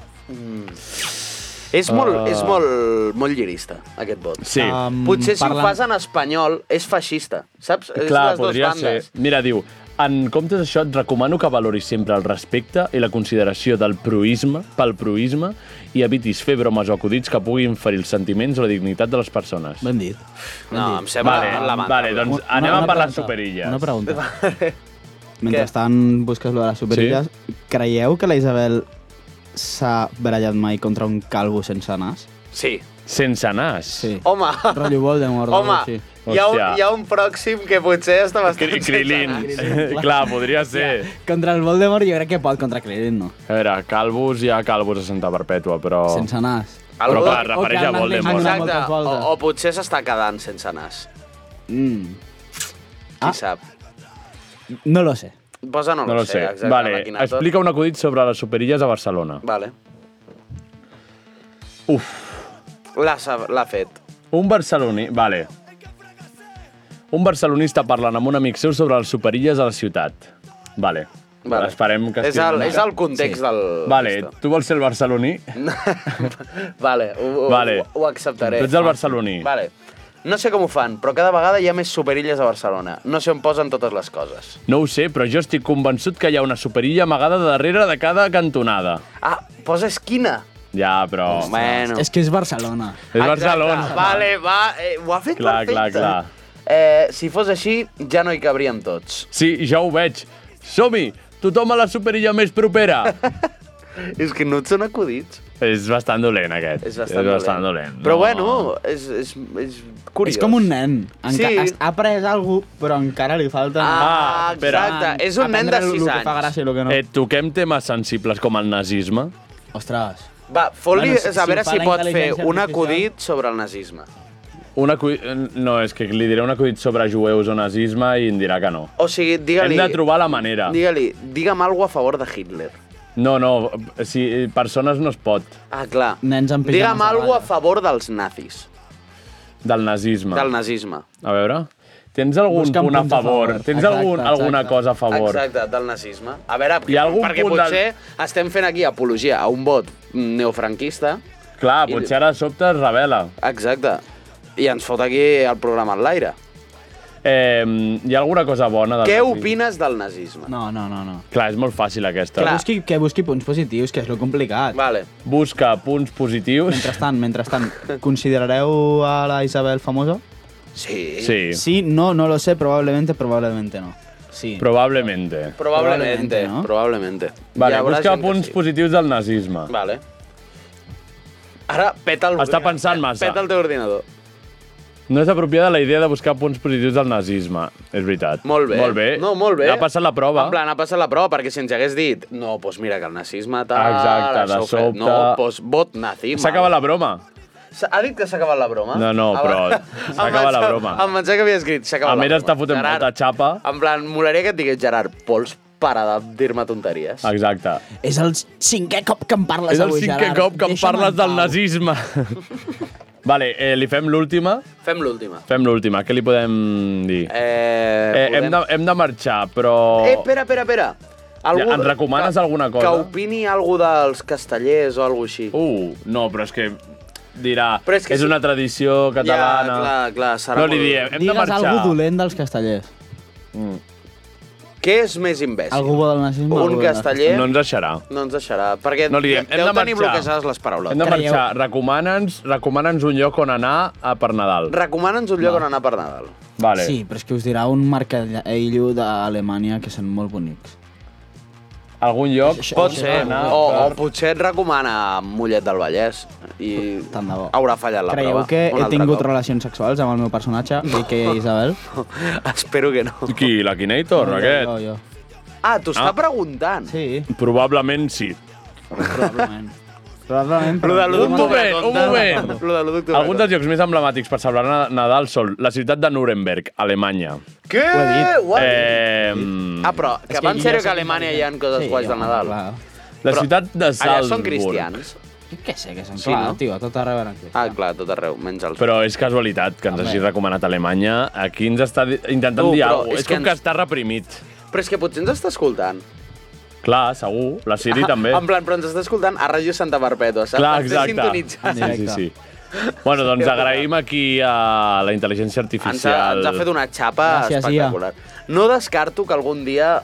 Speaker 6: És, molt, és molt, molt llirista, aquest vot.
Speaker 4: Sí,
Speaker 5: Um,
Speaker 6: Potser si
Speaker 5: parlant-
Speaker 6: ho fas en espanyol és feixista, saps? és
Speaker 4: clar,
Speaker 6: les dues
Speaker 4: podria ser.
Speaker 6: bandes.
Speaker 4: Mira, diu, en comptes d'això et recomano que valoris sempre el respecte i la consideració del proisme pel proisme i evitis fer bromes o acudits que puguin ferir els sentiments o la dignitat de les persones.
Speaker 5: Ben dit.
Speaker 6: No, em sembla lamentable.
Speaker 4: vale, doncs anem
Speaker 5: Una-
Speaker 4: a
Speaker 5: una
Speaker 4: parlar
Speaker 5: pregunta,
Speaker 4: superilles.
Speaker 6: <laughs>
Speaker 5: Una pregunta. Mentrestant busques lo de les superilles, creieu que la Isabel s'ha barallat mai contra un calvo sense nas?
Speaker 6: Sí.
Speaker 4: Sense nas.
Speaker 5: Sí.
Speaker 6: Home,
Speaker 5: Rotllo Voldemort. o
Speaker 6: home,
Speaker 5: alguna cosa així.
Speaker 6: hi ha, un,
Speaker 4: Hòstia.
Speaker 6: hi ha un pròxim que potser està bastant...
Speaker 4: Cri-
Speaker 6: sense
Speaker 4: Krilin. <laughs>
Speaker 6: anar.
Speaker 4: Clar, podria ser.
Speaker 5: Contra el Voldemort jo crec que pot, contra Clelin no.
Speaker 4: A veure, calvos hi ha calvos a Santa Perpètua, però...
Speaker 5: Sense nas.
Speaker 4: Però
Speaker 6: Algú-
Speaker 4: clar, es refereix
Speaker 5: o que
Speaker 4: a
Speaker 5: han anat
Speaker 4: Voldemort.
Speaker 5: menjant.
Speaker 6: Exacte,
Speaker 5: Moltes
Speaker 6: o,
Speaker 5: voltes.
Speaker 6: o potser s'està quedant sense nas.
Speaker 5: Mm.
Speaker 6: Qui sap?
Speaker 5: No lo sé.
Speaker 6: Posa no,
Speaker 4: No
Speaker 6: lo
Speaker 4: lo sé.
Speaker 6: exacte, la
Speaker 4: Vale,
Speaker 6: màquina, tot.
Speaker 4: explica un acudit sobre les superilles a Barcelona.
Speaker 6: Vale.
Speaker 4: Uf.
Speaker 6: L'ha sab- l'ha fet.
Speaker 4: Un barceloní... Vale. Un barcelonista parlant amb un amic seu sobre les superilles a la ciutat. Vale.
Speaker 6: Vale.
Speaker 4: Esperem que...
Speaker 6: és
Speaker 4: estigui
Speaker 6: el,
Speaker 4: una
Speaker 6: és
Speaker 4: mica-
Speaker 6: el context del...
Speaker 4: Vale, tu vols ser el barceloní?
Speaker 6: vale, ho, ho,
Speaker 4: Vale.
Speaker 6: ho, ho acceptaré.
Speaker 4: Tu ets el barceloní.
Speaker 6: Vale. No sé com ho fan, però cada vegada hi ha més superilles a Barcelona. No sé on posen totes les coses.
Speaker 4: No ho sé, però jo estic convençut que hi ha una superilla amagada darrere de cada cantonada.
Speaker 6: Ah, posa esquina.
Speaker 4: Ja, però...
Speaker 6: Bueno.
Speaker 5: És que és Barcelona.
Speaker 4: És Barcelona.
Speaker 6: Exacte. Vale, va, eh, ho ha fet
Speaker 4: Clar, clar,
Speaker 6: perfecte.
Speaker 4: clar.
Speaker 6: Eh, si fos així, ja no hi cabríem tots.
Speaker 4: Sí, ja ho veig. Som-hi! Tothom a la superilla més propera!
Speaker 6: <laughs> És que no et són acudits.
Speaker 4: és bastant dolent, aquest.
Speaker 6: És bastant,
Speaker 4: és bastant dolent. No.
Speaker 6: Però bueno, és, és, és curiós.
Speaker 5: És com un nen. Enca
Speaker 6: Sí.
Speaker 5: sí. Ha après alguna cosa, però encara li falta...
Speaker 6: Ah,
Speaker 4: Ah, espera.
Speaker 6: exacte. És un nen de 6
Speaker 5: Aprendre El que fa
Speaker 6: anys.
Speaker 5: gràcia i el que no.
Speaker 4: Eh, toquem temes sensibles com el nazisme?
Speaker 5: Ostres.
Speaker 6: Va, fot-li
Speaker 5: Bueno, si-
Speaker 6: a veure
Speaker 5: si
Speaker 6: si
Speaker 5: fa la
Speaker 6: pot fer
Speaker 5: intel·ligència
Speaker 6: un
Speaker 5: artificial.
Speaker 6: acudit sobre el nazisme.
Speaker 4: Un acu... No, és que li diré un acudit sobre jueus o nazisme i em dirà que no.
Speaker 6: O sigui, digue-li...
Speaker 4: Hem de trobar la manera.
Speaker 6: Digue-li, digue'm alguna a favor de Hitler.
Speaker 4: No, no, si persones no es pot.
Speaker 6: Ah, clar.
Speaker 5: Nens en pijamas
Speaker 6: Digue'm
Speaker 5: a
Speaker 6: alguna a
Speaker 5: banda.
Speaker 6: favor dels nazis,
Speaker 4: Del nazisme.
Speaker 6: del nazisme.
Speaker 4: A veure... Tens algun
Speaker 5: Busca un
Speaker 4: punt a
Speaker 5: punt a
Speaker 4: favor?
Speaker 5: favor.
Speaker 4: Tens
Speaker 5: Exacte,
Speaker 4: algun, alguna
Speaker 5: exacte.
Speaker 4: cosa a favor?
Speaker 6: Exacte, del nazisme. A veure,
Speaker 4: Hi ha algun
Speaker 6: perquè
Speaker 4: punt del-
Speaker 6: potser estem fent aquí apologia a un vot neofranquista.
Speaker 4: Clar,
Speaker 6: I-
Speaker 4: potser ara de sobte es revela.
Speaker 6: Exacte. I ens fot aquí el programa en l'aire.
Speaker 4: Ah, Eh, hi ha alguna cosa bona del
Speaker 6: Què
Speaker 4: nazisme?
Speaker 6: opines del nazisme?
Speaker 5: No, no, no, no.
Speaker 4: Clar, és molt fàcil aquesta.
Speaker 5: Que
Speaker 6: Clar.
Speaker 5: busqui, que busqui punts positius, que és lo complicat.
Speaker 6: Vale.
Speaker 4: Busca punts positius.
Speaker 6: <laughs>
Speaker 5: Mentrestant, mentrestant, considerareu a la Isabel famosa?
Speaker 6: Sí.
Speaker 4: Sí,
Speaker 5: Sí, no, no lo sé, probablemente, probablemente no. Sí.
Speaker 4: probablemente.
Speaker 6: Probablemente,
Speaker 5: Probablemente, no?
Speaker 6: probablemente. eh, Hi
Speaker 4: Vale,
Speaker 6: haurà
Speaker 4: busca
Speaker 6: gent que
Speaker 4: punts
Speaker 6: sí.
Speaker 4: positius del nazisme.
Speaker 6: Vale. Ara peta el...
Speaker 4: Està pensant massa.
Speaker 6: Peta el teu ordinador.
Speaker 4: No és apropiada la idea de buscar punts positius del nazisme, és veritat.
Speaker 6: Molt bé.
Speaker 4: Molt bé.
Speaker 6: No, molt bé.
Speaker 4: Ha passat la prova.
Speaker 6: En plan, ha passat la prova, perquè si ens hagués dit no, doncs mira que el nazisme tal...
Speaker 4: Exacte,
Speaker 6: això
Speaker 4: de
Speaker 6: ho fet", No,
Speaker 4: sobte.
Speaker 6: doncs vot nazisme.
Speaker 4: S'ha acabat la broma.
Speaker 6: S- Ha dit que s'ha acabat la broma?
Speaker 4: No, no,
Speaker 6: Aba-
Speaker 4: però
Speaker 6: Em
Speaker 4: s'ha acabat la
Speaker 6: pensava-
Speaker 4: broma.
Speaker 6: Em pensava que havia escrit, s'ha
Speaker 4: A
Speaker 6: acabat la
Speaker 4: més,
Speaker 6: broma.
Speaker 4: està fotent molta xapa.
Speaker 6: En plan, molaria que et digués Gerard, pols parar de dir-me tonteries.
Speaker 4: Ah. Exacte.
Speaker 7: És el cinquè cop que em parles
Speaker 4: És el
Speaker 7: avui,
Speaker 4: cinquè
Speaker 7: Gerard.
Speaker 4: cop que em
Speaker 7: Deixa'm en
Speaker 4: parles del
Speaker 7: pau.
Speaker 4: nazisme. <laughs> vale, eh, li fem l'última?
Speaker 6: Fem l'última.
Speaker 4: Fem l'última. Què li podem dir?
Speaker 6: Eh,
Speaker 4: Eh, hem, de, hem de marxar, però...
Speaker 6: Eh, espera, espera, espera.
Speaker 4: Ja, ens recomanes
Speaker 6: que,
Speaker 4: alguna cosa?
Speaker 6: Que opini algú dels castellers o alguna així.
Speaker 4: Uh, no, però és que dirà...
Speaker 6: Però és que
Speaker 4: és
Speaker 6: sí.
Speaker 4: una tradició catalana...
Speaker 6: Ja, clar, clar, serà
Speaker 4: no li
Speaker 6: molt-
Speaker 4: diem, hem de
Speaker 5: Digues
Speaker 4: marxar.
Speaker 5: algú dolent dels castellers.
Speaker 6: Què és més imbècil?
Speaker 5: Algú bo del nazisme.
Speaker 6: Un
Speaker 5: algú del
Speaker 6: casteller
Speaker 4: No ens deixarà.
Speaker 6: no ens deixarà, perquè
Speaker 4: No li diem, hem
Speaker 6: deu
Speaker 4: de
Speaker 6: tenir
Speaker 4: marxar.
Speaker 6: bloquejades les paraules.
Speaker 4: Hem de
Speaker 6: De...
Speaker 4: marxar. Recomana'ns recomana'ns un lloc on anar a per Nadal.
Speaker 6: Recomana'ns un lloc on anar per Nadal.
Speaker 4: Vale.
Speaker 5: Sí, però és que us dirà un mercadillo d'Alemanya que són molt bonics.
Speaker 4: Algun lloc
Speaker 6: Pot ser.
Speaker 4: anar
Speaker 6: o, o
Speaker 4: per...
Speaker 6: potser et recomana Mollet del Vallès i
Speaker 5: Tant de bo.
Speaker 6: haurà fallat la
Speaker 5: Creieu
Speaker 6: prova.
Speaker 5: que
Speaker 6: un
Speaker 5: he
Speaker 6: altre
Speaker 5: tingut
Speaker 6: cop.
Speaker 5: relacions sexuals amb el meu personatge, no. que Isabel?
Speaker 6: <laughs> Espero que no.
Speaker 4: Qui, la Quinator, no, aquest?
Speaker 5: Jo, jo.
Speaker 6: Ah, t'ho està
Speaker 4: Ah.
Speaker 6: preguntant.
Speaker 5: Sí,
Speaker 4: Probablement sí.
Speaker 6: <laughs>
Speaker 5: probablement. probablement.
Speaker 6: Lo de l'1
Speaker 4: Un moment, un moment.
Speaker 6: <laughs> Lo de l'1 d'octubre.
Speaker 4: Alguns dels llocs més emblemàtics per celebrar Na- Nadal són la ciutat de Nuremberg, Alemanya.
Speaker 6: Què? Ho he dit.
Speaker 4: Eh,
Speaker 6: Ah, però que va en sèrio que a Alemanya hi ha coses sí, guais del Nadal.
Speaker 5: Clar.
Speaker 4: la
Speaker 6: Però
Speaker 4: ciutat de
Speaker 6: Allà
Speaker 4: Salzburg.
Speaker 6: són cristians.
Speaker 5: Què sé, que són
Speaker 6: Sí,
Speaker 5: sí, clar,
Speaker 6: no?
Speaker 5: no? tio, a tot arreu eren cristians.
Speaker 6: Ah, clar, tot arreu, menys els...
Speaker 4: Però és casualitat que ens hagis recomanat Alemanya. Aquí ens està di- intentant
Speaker 6: Tu,
Speaker 4: dir
Speaker 6: però
Speaker 4: alguna cosa.
Speaker 6: és
Speaker 4: És
Speaker 6: que
Speaker 4: com que
Speaker 6: ens-
Speaker 4: està reprimit.
Speaker 6: Però és que potser ens està escoltant.
Speaker 4: Clar, segur. La Siri també.
Speaker 6: <laughs> En plan, però ens està escoltant a Ràdio Santa Perpètua, saps?
Speaker 4: Clar,
Speaker 6: Ens té sintonitzat.
Speaker 4: exacte. Sí, sí, sí. Bueno, doncs agraïm aquí a la intel·ligència artificial.
Speaker 6: Ens ha, ens ha fet una xapa
Speaker 5: Gràcies,
Speaker 6: espectacular. No descarto que algun dia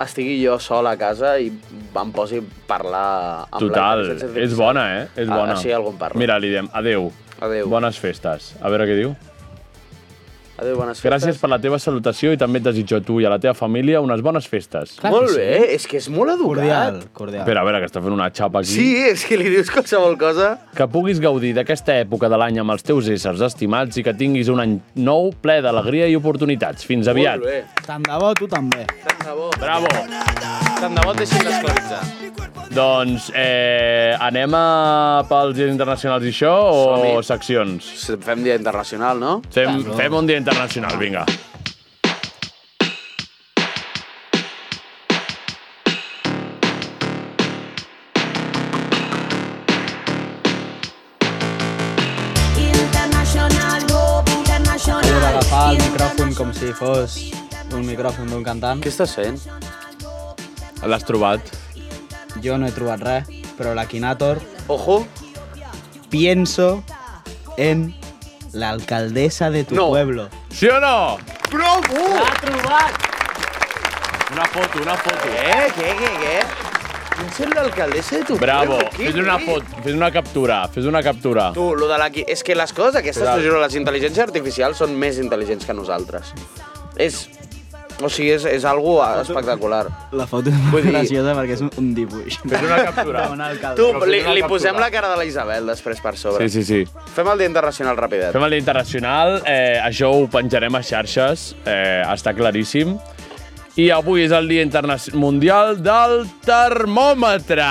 Speaker 6: estigui jo sol a casa i em posi a parlar amb
Speaker 4: Total,
Speaker 6: la intel·ligència
Speaker 4: és
Speaker 6: artificial.
Speaker 4: bona, eh? És
Speaker 6: Ah,
Speaker 4: bona.
Speaker 6: així algú en parla.
Speaker 4: Mira, li diem adeu.
Speaker 6: Adéu.
Speaker 4: Bones festes. A veure què diu.
Speaker 6: Adéu, bones festes.
Speaker 4: Gràcies per la teva salutació i també et desitjo a tu i a la teva família unes bones festes.
Speaker 5: Clar que
Speaker 6: Molt
Speaker 5: sí.
Speaker 6: bé, és que és molt educat.
Speaker 5: Cordial, cordial.
Speaker 4: Espera, a veure, que està fent una xapa aquí.
Speaker 6: Sí, és que li dius qualsevol cosa.
Speaker 4: Que puguis gaudir d'aquesta època de l'any amb els teus éssers estimats i que tinguis un any nou ple d'alegria i oportunitats. Fins aviat.
Speaker 6: Molt bé.
Speaker 5: Tant de bo, tu també.
Speaker 6: Tant de bo.
Speaker 4: Bravo.
Speaker 6: Tant de bo et deixin esclavitzar.
Speaker 4: Doncs eh, anem a pels dies internacionals i això o
Speaker 6: Som-hi.
Speaker 4: seccions?
Speaker 6: Fem dia internacional, no?
Speaker 4: Fem, fem un dia internacional, vinga.
Speaker 5: Heu d'agafar el micròfon com si fos un micròfon d'un cantant.
Speaker 6: Què estàs fent?
Speaker 4: L'has trobat?
Speaker 5: Jo no he trobat res, però la Quinator
Speaker 6: Ojo.
Speaker 5: pienso en la alcaldesa de tu
Speaker 6: No.
Speaker 5: pueblo.
Speaker 4: Sí o no?
Speaker 6: Bravo!
Speaker 4: Una foto, una foto.
Speaker 6: Què?
Speaker 5: Eh,
Speaker 6: Què? Què? Què? Pienso en l'alcaldessa de tu
Speaker 4: Bravo,
Speaker 6: pueblo, què
Speaker 4: fes una
Speaker 6: dius?
Speaker 4: foto, fes una captura, fes una captura.
Speaker 6: Tu, lo de la... qui- És que les coses aquestes,
Speaker 4: Clar.
Speaker 6: t'ho juro, les intel·ligències artificials són més intel·ligents que nosaltres. És... O sigui, és, és algo espectacular.
Speaker 5: La foto és molt
Speaker 6: Vull dir-
Speaker 5: graciosa perquè és un- un dibuix.
Speaker 4: Fes una captura.
Speaker 5: Una alcaldessa.
Speaker 6: Tu,
Speaker 4: Però
Speaker 6: li,
Speaker 4: fes una
Speaker 6: li
Speaker 4: captura.
Speaker 6: posem la cara de la Isabel després per sobre.
Speaker 4: Sí, sí, sí.
Speaker 6: Fem el dia internacional rapidet.
Speaker 4: Fem el dia internacional, eh, això ho penjarem a xarxes, eh, està claríssim. I avui és el dia Interna mundial del termòmetre.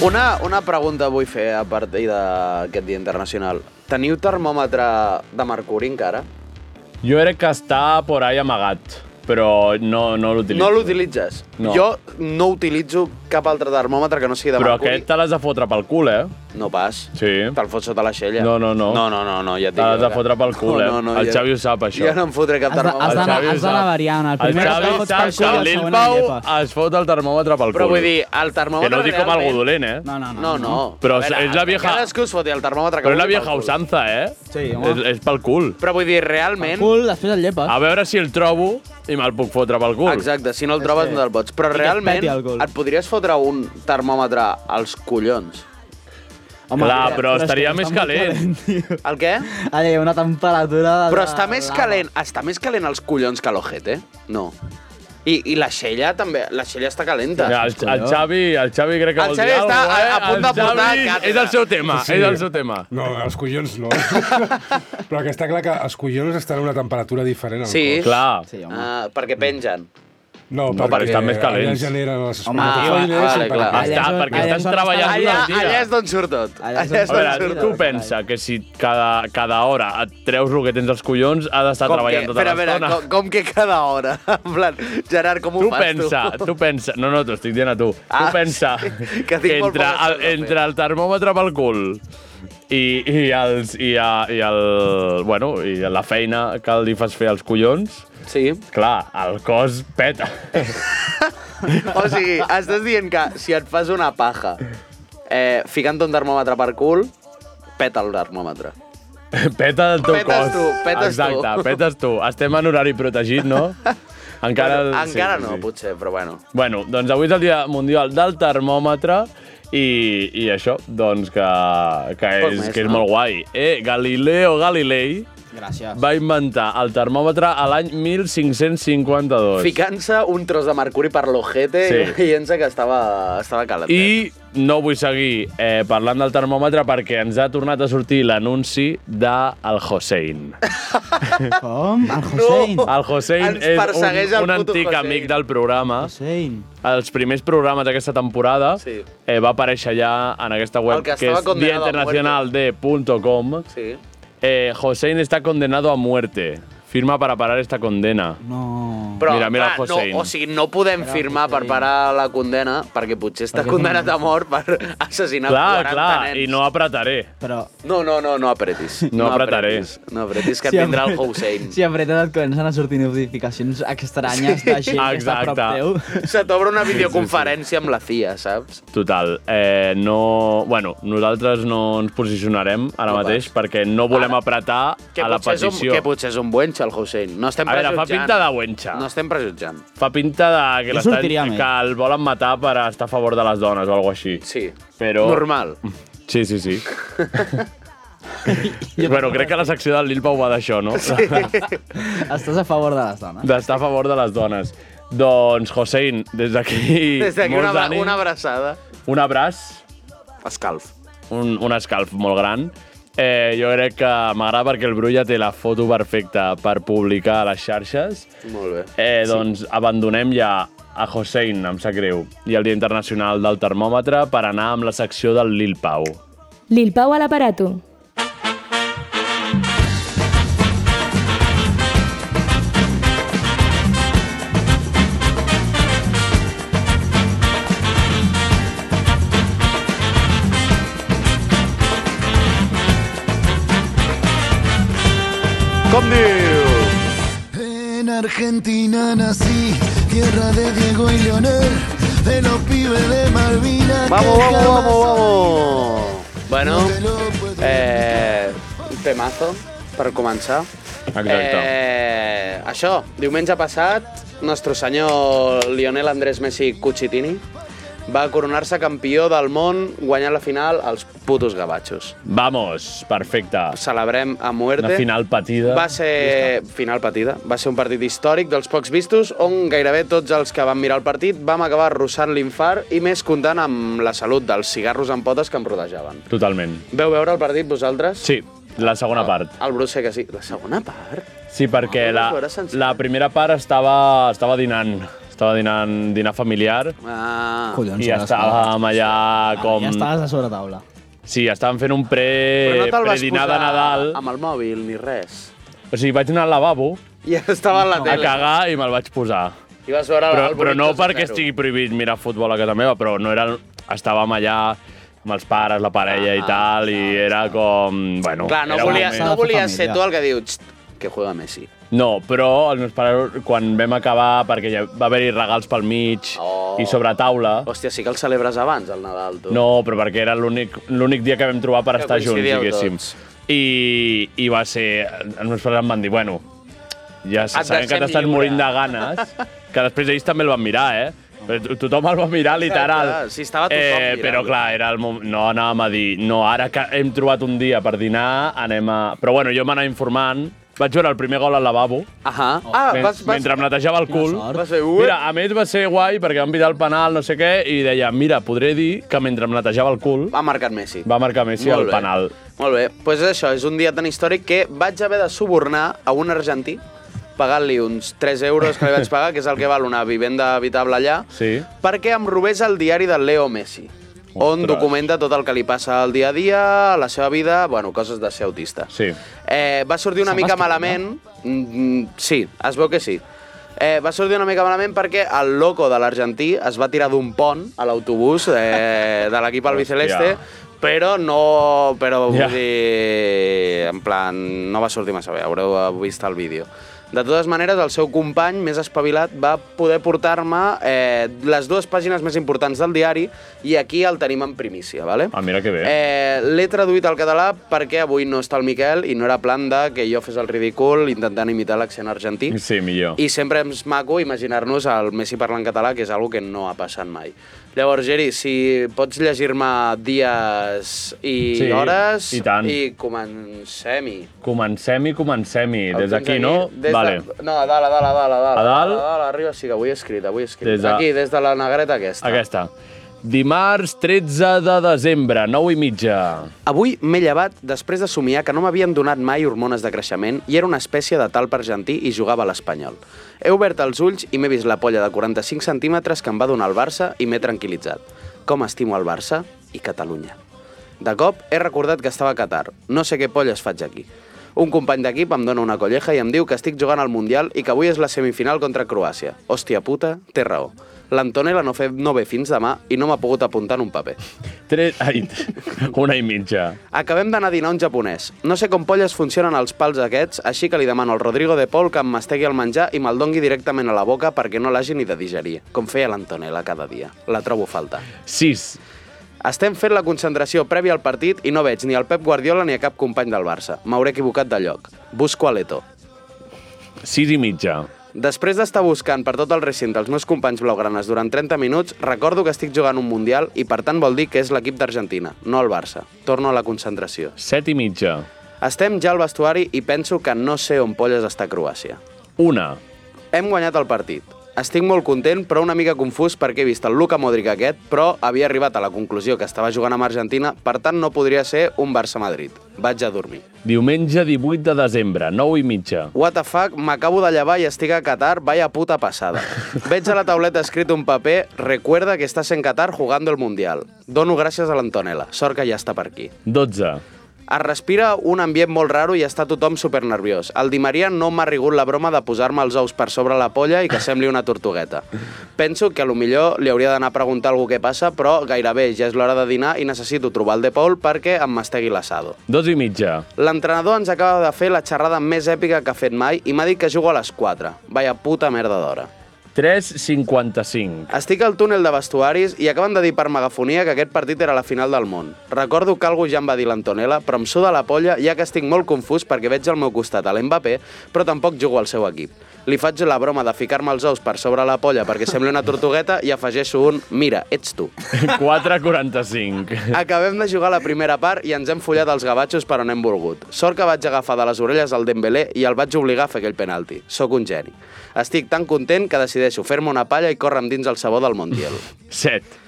Speaker 6: Una, una pregunta vull fer a partir d'aquest dia internacional. Teniu termòmetre de mercuri encara?
Speaker 4: Jo crec que està por ahí amagat, però no, no l'utilitzo.
Speaker 6: No l'utilitzes?
Speaker 4: No.
Speaker 6: Jo no utilitzo cap altre termòmetre que no sigui de
Speaker 4: Però
Speaker 6: mercuri.
Speaker 4: aquest te l'has de fotre pel cul, eh?
Speaker 6: No pas.
Speaker 4: Sí.
Speaker 6: Te'l fots sota la xella.
Speaker 4: No, no, no.
Speaker 6: No, no, no, no ja et dic.
Speaker 4: Te l'has
Speaker 6: jo
Speaker 4: de
Speaker 6: que-
Speaker 4: fotre pel cul, eh? El Xavi ho sap, això.
Speaker 6: Jo no em fotré cap
Speaker 5: Has de- has
Speaker 6: termòmetre.
Speaker 5: d'anar-
Speaker 4: Xavi ho
Speaker 5: has d'anar
Speaker 4: sap.
Speaker 5: variant. El primer
Speaker 4: el Xavi
Speaker 5: que fots pel
Speaker 4: sap
Speaker 5: cul i el
Speaker 4: que
Speaker 5: segon
Speaker 4: l'Ilpau
Speaker 5: el llepes.
Speaker 4: es fot el termòmetre pel cul.
Speaker 6: Però vull dir, el termòmetre...
Speaker 4: Que no ho dic com algo
Speaker 6: realment-
Speaker 4: dolent, eh?
Speaker 5: No, no, no.
Speaker 6: No, no.
Speaker 4: Però
Speaker 6: A veure,
Speaker 4: és la vieja-
Speaker 6: Cadascú es foti el termòmetre que
Speaker 4: Però és la
Speaker 6: vulgui pel
Speaker 4: vieja
Speaker 6: cul.
Speaker 4: usanza, eh?
Speaker 5: Sí, home.
Speaker 4: és, és pel cul.
Speaker 6: Però vull dir,
Speaker 5: El
Speaker 6: realment...
Speaker 5: cul, després el llepes.
Speaker 4: A veure si el trobo i me'l puc fotre pel cul.
Speaker 6: Exacte, si no el trobes
Speaker 5: que-
Speaker 6: no el pots. Però
Speaker 5: que et
Speaker 6: realment
Speaker 5: peti el cul.
Speaker 6: et podries fotre un termòmetre als collons.
Speaker 4: Home, Clar,
Speaker 5: eh,
Speaker 4: però estaria més calent.
Speaker 6: El què?
Speaker 5: Ara hi ha una temperatura... De...
Speaker 6: Però està més calent, està més calent els collons que l'ojete? No. I, I la Xella també, la Xella està calenta.
Speaker 4: Ja, el, el, Xavi, el Xavi crec que
Speaker 6: El
Speaker 4: vol
Speaker 6: Xavi
Speaker 4: dir
Speaker 6: està
Speaker 4: alguna cosa, eh?
Speaker 6: a- a punt de
Speaker 4: El Xavi
Speaker 6: portar càtedra.
Speaker 4: És el seu tema,
Speaker 8: Sí.
Speaker 4: sí. és el seu tema.
Speaker 8: No, els collons no. <laughs> Però que està clar que els collons estan a una temperatura diferent. Al
Speaker 6: Sí.
Speaker 8: cos.
Speaker 6: Sí, uh, perquè pengen.
Speaker 8: No,
Speaker 4: No, perquè estan més
Speaker 8: allà
Speaker 4: calents.
Speaker 8: generen les
Speaker 6: Home, ah, vale, clar.
Speaker 4: Està,
Speaker 6: Allà és on-
Speaker 4: perquè
Speaker 6: allà és
Speaker 4: estan
Speaker 6: on
Speaker 4: treballant tot
Speaker 6: està-
Speaker 4: el
Speaker 6: allà-
Speaker 4: dia.
Speaker 6: allà és d'on surt tot. Allà és on
Speaker 4: a veure,
Speaker 6: surt
Speaker 4: tu
Speaker 6: tot.
Speaker 4: pensa que si cada, cada hora et treus el que tens als collons, ha d'estar
Speaker 6: Com
Speaker 4: treballant
Speaker 6: que-
Speaker 4: tota
Speaker 6: espera, espera,
Speaker 4: l'estona.
Speaker 6: com- com que cada hora? <laughs> En plan, Gerard, com ho
Speaker 4: Tu
Speaker 6: fas, tu?
Speaker 4: pensa, tu pensa... No, no, t'ho estic dient a tu. Ah,
Speaker 6: Ah,
Speaker 4: tu pensa
Speaker 6: que
Speaker 4: que
Speaker 6: tinc molt
Speaker 4: entre, el,
Speaker 6: poques coses a fer.
Speaker 4: entre el termòmetre pel cul i, i, els, i, a, i, el, bueno, i la feina que li fas fer als collons,
Speaker 6: sí.
Speaker 4: clar, el cos peta.
Speaker 6: <laughs> O sigui, estàs dient que si et fas una paja eh, ficant un termòmetre per cul, peta el termòmetre.
Speaker 4: Peta el teu
Speaker 6: Petes
Speaker 4: cos.
Speaker 6: tu, petes tu.
Speaker 4: Exacte, petes tu. Estem en horari protegit,
Speaker 6: <laughs>
Speaker 4: no? Encara,
Speaker 6: bueno, encara no, potser, però bueno.
Speaker 4: Bueno, doncs avui és el dia mundial del termòmetre i, i això, doncs que, que,
Speaker 6: Poc
Speaker 4: és,
Speaker 6: més,
Speaker 4: que és
Speaker 6: no?
Speaker 4: molt guai. Eh, Galileo Galilei
Speaker 5: Gràcies.
Speaker 4: va inventar el termòmetre a l'any 1552.
Speaker 6: Ficant-se un tros de mercuri per l'ojete sí.
Speaker 4: Sí.
Speaker 6: i creient que estava, estava calent.
Speaker 4: I no vull seguir eh, parlant del termòmetre perquè ens ha tornat a sortir l'anunci del Hossein.
Speaker 5: Com? El Hossein? No.
Speaker 4: El Hossein
Speaker 5: Oh, Ens
Speaker 4: és
Speaker 5: persegueix
Speaker 4: un,
Speaker 5: el
Speaker 4: un
Speaker 5: puto
Speaker 4: antic
Speaker 5: Hossein.
Speaker 4: amic del programa.
Speaker 5: Hossein.
Speaker 4: Els primers programes d'aquesta temporada sí. eh, va aparèixer ja en aquesta
Speaker 6: El
Speaker 4: web
Speaker 6: que
Speaker 4: que,
Speaker 6: estava
Speaker 4: és
Speaker 6: condenado a
Speaker 4: diainternacionalde.com.
Speaker 6: Sí.
Speaker 4: Eh, Hossein está condenado a muerte. Firma para parar esta condena.
Speaker 5: No.
Speaker 6: Però,
Speaker 4: mira, mira el
Speaker 6: clar,
Speaker 4: Hossein.
Speaker 6: No, o sigui, no podem firmar per parar la condena, perquè potser està
Speaker 4: Perquè
Speaker 6: condenat a mort per assassinar
Speaker 4: clar,
Speaker 6: 40
Speaker 4: clar,
Speaker 6: nens.
Speaker 4: i no apretaré.
Speaker 5: Però...
Speaker 6: No, no, no, no apretis.
Speaker 4: No apretaré.
Speaker 6: apretis, No apretis, que et vindrà el Hossein.
Speaker 5: Si apretes et comencen a sortir notificacions estranyes de gent que està a prop teu.
Speaker 6: Se t'obre una videoconferència amb la CIA, saps?
Speaker 4: Total, eh, no... Bueno, nosaltres no ens posicionarem ara
Speaker 6: No
Speaker 4: mateix perquè no volem apretar
Speaker 6: Que
Speaker 4: a la
Speaker 6: potser és un-
Speaker 4: petició.
Speaker 6: que potser és un buenxa, el Hossein. No estem
Speaker 4: A veure, fa
Speaker 6: prejutjant.
Speaker 4: pinta de buenxa.
Speaker 6: No estem prejutjant.
Speaker 4: Fa pinta de que,
Speaker 6: Jo
Speaker 4: l'estan-
Speaker 6: sortiria amb ell.
Speaker 4: que el volen matar per estar a favor de les dones o alguna així.
Speaker 6: Sí,
Speaker 4: Però... <laughs>
Speaker 6: normal.
Speaker 4: Sí, sí,
Speaker 6: <laughs>
Speaker 4: sí. bueno, crec que la secció del Lil Pau va d'això, no? Sí.
Speaker 5: Estàs a favor de les dones.
Speaker 4: <laughs> D'estar a favor de les dones. Doncs, Hossein, des d'aquí...
Speaker 6: Des d'aquí una,
Speaker 4: molts
Speaker 6: abra-
Speaker 4: ànims.
Speaker 6: una abraçada.
Speaker 4: Un abraç.
Speaker 6: Escalf.
Speaker 4: Un, un escalf molt gran. Eh, jo crec que m'agrada perquè el Bru ja té la foto perfecta per publicar a les xarxes.
Speaker 6: Molt bé.
Speaker 4: Eh, doncs abandonem ja a Hossein, em sap greu, i el Dia Internacional del Termòmetre per anar amb la secció del Lil Pau.
Speaker 9: Lil Pau a l'aparato.
Speaker 6: Com diu?
Speaker 10: En Argentina nací, tierra de Diego y Leonel, de los pibes de Malvinas.
Speaker 6: Vamos, vamos, vamos, vamos. Bueno, eh, un temazo per començar.
Speaker 4: Exacte.
Speaker 6: Eh, això, diumenge passat, nostre senyor Lionel Andrés Messi Cucitini va coronar-se campió del món guanyant la final als putos gavatxos.
Speaker 4: Vamos, perfecte.
Speaker 6: Celebrem a muerte.
Speaker 4: Una final patida.
Speaker 6: Va ser... Final patida. Va ser un partit històric dels pocs vistos on gairebé tots els que van mirar el partit vam acabar arrossant l'infart i més comptant amb la salut dels cigarros en potes que em rodejaven.
Speaker 4: Totalment.
Speaker 6: Veu veure el partit vosaltres?
Speaker 4: Sí, la segona part.
Speaker 6: El Bruce sé que sí. La segona part?
Speaker 4: Sí, perquè
Speaker 6: Ah,
Speaker 4: la,
Speaker 6: no, era sencer.
Speaker 4: la primera part estava, estava dinant. Estava dinant dinar familiar.
Speaker 6: Ah.
Speaker 5: Collons,
Speaker 4: I
Speaker 5: ara
Speaker 4: estàvem allà com...
Speaker 5: Ja estaves a sobre taula.
Speaker 4: Sí, estàvem fent un pre...
Speaker 6: Però no te'l vas
Speaker 4: predinar de
Speaker 6: posar
Speaker 4: eh, Nadal.
Speaker 6: amb el mòbil ni res.
Speaker 4: O sigui, vaig anar al lavabo
Speaker 6: I estava a la
Speaker 4: a
Speaker 6: tele.
Speaker 4: cagar i me'l vaig posar.
Speaker 6: I vas veure
Speaker 4: Però,
Speaker 6: Ah, el
Speaker 4: però no
Speaker 6: Bonitos a
Speaker 4: perquè
Speaker 6: zero.
Speaker 4: estigui prohibit mirar futbol a casa meva, però no era... Estàvem allà amb els pares, la parella
Speaker 6: Ah,
Speaker 4: i tal, i era com... Bueno,
Speaker 6: Clar, no
Speaker 4: era un
Speaker 6: volia,
Speaker 4: moment.
Speaker 6: no volia ser tu el que diu "Xt, que juega Messi.
Speaker 4: No, però els meus pares, quan vam acabar, perquè ja va haver-hi regals pel mig oh. i sobre taula...
Speaker 6: Hòstia, sí que el celebres abans, el Nadal, tu.
Speaker 4: No, però perquè era l'únic l'únic dia que vam trobar per
Speaker 6: Que
Speaker 4: estar junts,
Speaker 6: coincidíeu
Speaker 4: diguéssim. I, I va ser... Els meus pares em van dir, bueno, ja se
Speaker 6: Et
Speaker 4: sabem que
Speaker 6: deixem
Speaker 4: t'estàs
Speaker 6: lliure."
Speaker 4: morint de ganes, que després ells també el van mirar, eh? Però to- Tothom el va mirar literal. Eh,
Speaker 6: Clar, clar, si estava tothom mirant.
Speaker 4: Però clar, era el moment... No anàvem a dir, no, ara que hem trobat un dia per dinar, anem a... Però bueno, jo m'anava informant, vaig veure el primer gol al lavabo.
Speaker 6: Ahà. Ah,
Speaker 4: men-
Speaker 6: vas- vas-
Speaker 4: Mentre em netejava el cul.
Speaker 6: Vas fer, eh? "Ue".
Speaker 4: Mira, a més va ser guai perquè van pitar el penal, no sé què, i deia, mira, podré dir que mentre em netejava el cul...
Speaker 6: Va marcar Messi.
Speaker 4: Va marcar Messi
Speaker 6: Molt
Speaker 4: el
Speaker 6: bé.
Speaker 4: penal.
Speaker 6: Molt bé, doncs pues és això, és un dia tan històric que vaig haver de subornar a un argentí pagant-li uns 3 euros que li vaig pagar, que és el que val una vivenda habitable allà,
Speaker 4: Sí.
Speaker 6: perquè em robés el diari del Leo Messi, on documenta tot el que li passa al dia a dia, a la seva vida, bueno, coses de ser autista.
Speaker 4: Sí.
Speaker 6: Eh, va sortir una
Speaker 4: Se'n va
Speaker 6: mica
Speaker 4: escapar?
Speaker 6: malament, mm, sí, es veu que sí. Eh, va sortir una mica malament perquè el loco de l'argentí es va tirar d'un pont a l'autobús eh,
Speaker 4: <laughs>
Speaker 6: de l'equip albiceleste, però no... Però vull
Speaker 4: Ja.
Speaker 6: dir... En plan, no va sortir massa bé, haureu vist el vídeo. De totes maneres, el seu company més espavilat va poder portar-me eh, les dues pàgines més importants del diari i aquí el tenim en primícia, vale?
Speaker 4: Ah, mira que bé.
Speaker 6: Eh, L'he traduït al català perquè avui no està el Miquel i no era plan de que jo fes el ridícul intentant imitar l'accent argentí.
Speaker 4: Sí, millor.
Speaker 6: I sempre és maco imaginar-nos el Messi parlant català, que és algo que no ha passat mai. Llavors, Geri, si pots llegir-me dies i
Speaker 4: Sí,
Speaker 6: hores...
Speaker 4: i tant.
Speaker 6: I comencem-hi.
Speaker 4: Comencem-hi, comencem-hi.
Speaker 6: El
Speaker 4: Des
Speaker 6: tens
Speaker 4: d'aquí, no?
Speaker 6: Des
Speaker 4: vale.
Speaker 6: De... No, a dalt, a dalt, a dalt, a dalt.
Speaker 4: A dalt?
Speaker 6: A dalt, arriba, sí que avui he escrit, avui he escrit.
Speaker 4: Des de-
Speaker 6: Aquí, des de la negreta aquesta.
Speaker 4: Aquesta. Dimarts 13 de desembre, 9 i mitja.
Speaker 6: Avui m'he llevat després de somiar que no m'havien donat mai hormones de creixement i era una espècie de talp argentí i jugava a l'Espanyol. He obert els ulls i m'he vist la polla de 45 centímetres que em va donar el Barça i m'he tranquil·litzat. Com estimo el Barça i Catalunya. De cop he recordat que estava a Qatar. No sé què polles faig aquí. Un company d'equip em dona una colleja i em diu que estic jugant al Mundial i que avui és la semifinal contra Croàcia. Hòstia puta, té raó. L'Antonella no, fe, no ve fins demà i no m'ha pogut apuntar en un paper.
Speaker 4: Tres... Ai, <laughs> una i mitja.
Speaker 6: Acabem d'anar a dinar a un japonès. No sé com polles funcionen els pals aquests, així que li demano al Rodrigo de Pol que em mastegui el menjar i me'l dongui directament a la boca perquè no l'hagi ni de digerir, com feia l'Antonella cada dia. La trobo falta.
Speaker 4: 6.
Speaker 6: Estem fent la concentració prèvia al partit i no veig ni el Pep Guardiola ni a cap company del Barça. M'hauré equivocat de lloc. Busco a Leto.
Speaker 4: 6 i mitja.
Speaker 6: Després d'estar buscant per tot el recinte els meus companys blaugranes durant 30 minuts, recordo que estic jugant un Mundial i per tant vol dir que és l'equip d'Argentina, no el Barça. Torno a la concentració.
Speaker 4: 7 i mitja.
Speaker 6: Estem ja al vestuari i penso que no sé on polles està Croàcia.
Speaker 4: Una.
Speaker 6: Hem guanyat el partit. Estic molt content, però una mica confús perquè he vist el Luka Modric aquest, però havia arribat a la conclusió que estava jugant amb Argentina, per tant no podria ser un Barça-Madrid. Vaig a dormir.
Speaker 4: Diumenge 18 de desembre, 9 i mitja.
Speaker 6: What the fuck, m'acabo de llevar i estic a Qatar, vaya puta passada. Veig a la tauleta escrit un paper, recuerda que estàs en Qatar jugando el Mundial. Dono gràcies a l'Antonella, sort que ja està per aquí.
Speaker 4: 12.
Speaker 6: Es respira un ambient molt raro i està tothom supernerviós. El Di Maria no m'ha rigut la broma de posar-me els ous per sobre la polla i que sembli una tortugueta. Penso que a lo millor li hauria d'anar a preguntar a algú què passa, però gairebé ja és l'hora de dinar i necessito trobar el De Paul perquè em mastegui l'assado.
Speaker 4: 2 i mitja.
Speaker 6: L'entrenador ens acaba de fer la xerrada més èpica que ha fet mai i m'ha dit que jugo a les 4. Vaya puta merda d'hora.
Speaker 4: 3.55.
Speaker 6: Estic al túnel de vestuaris i acaben de dir per megafonia que aquest partit era la final del món. Recordo que algú ja em va dir l'Antonella, però em suda la polla ja que estic molt confús perquè veig al meu costat a l'Mbappé, però tampoc jugo al seu equip. Li faig la broma de ficar-me els ous per sobre la polla perquè sembli una tortugueta i afegeixo un «Mira, ets tu».
Speaker 4: 4.45.
Speaker 6: Acabem de jugar la primera part i ens hem follat els gavatxos per on hem volgut. Sort que vaig agafar de les orelles el Dembélé i el vaig obligar a fer aquell penalti. Sóc un geni. Estic tan content que decideixo fer-me una palla i córrer amb dins el sabó del Montiel.
Speaker 4: 7.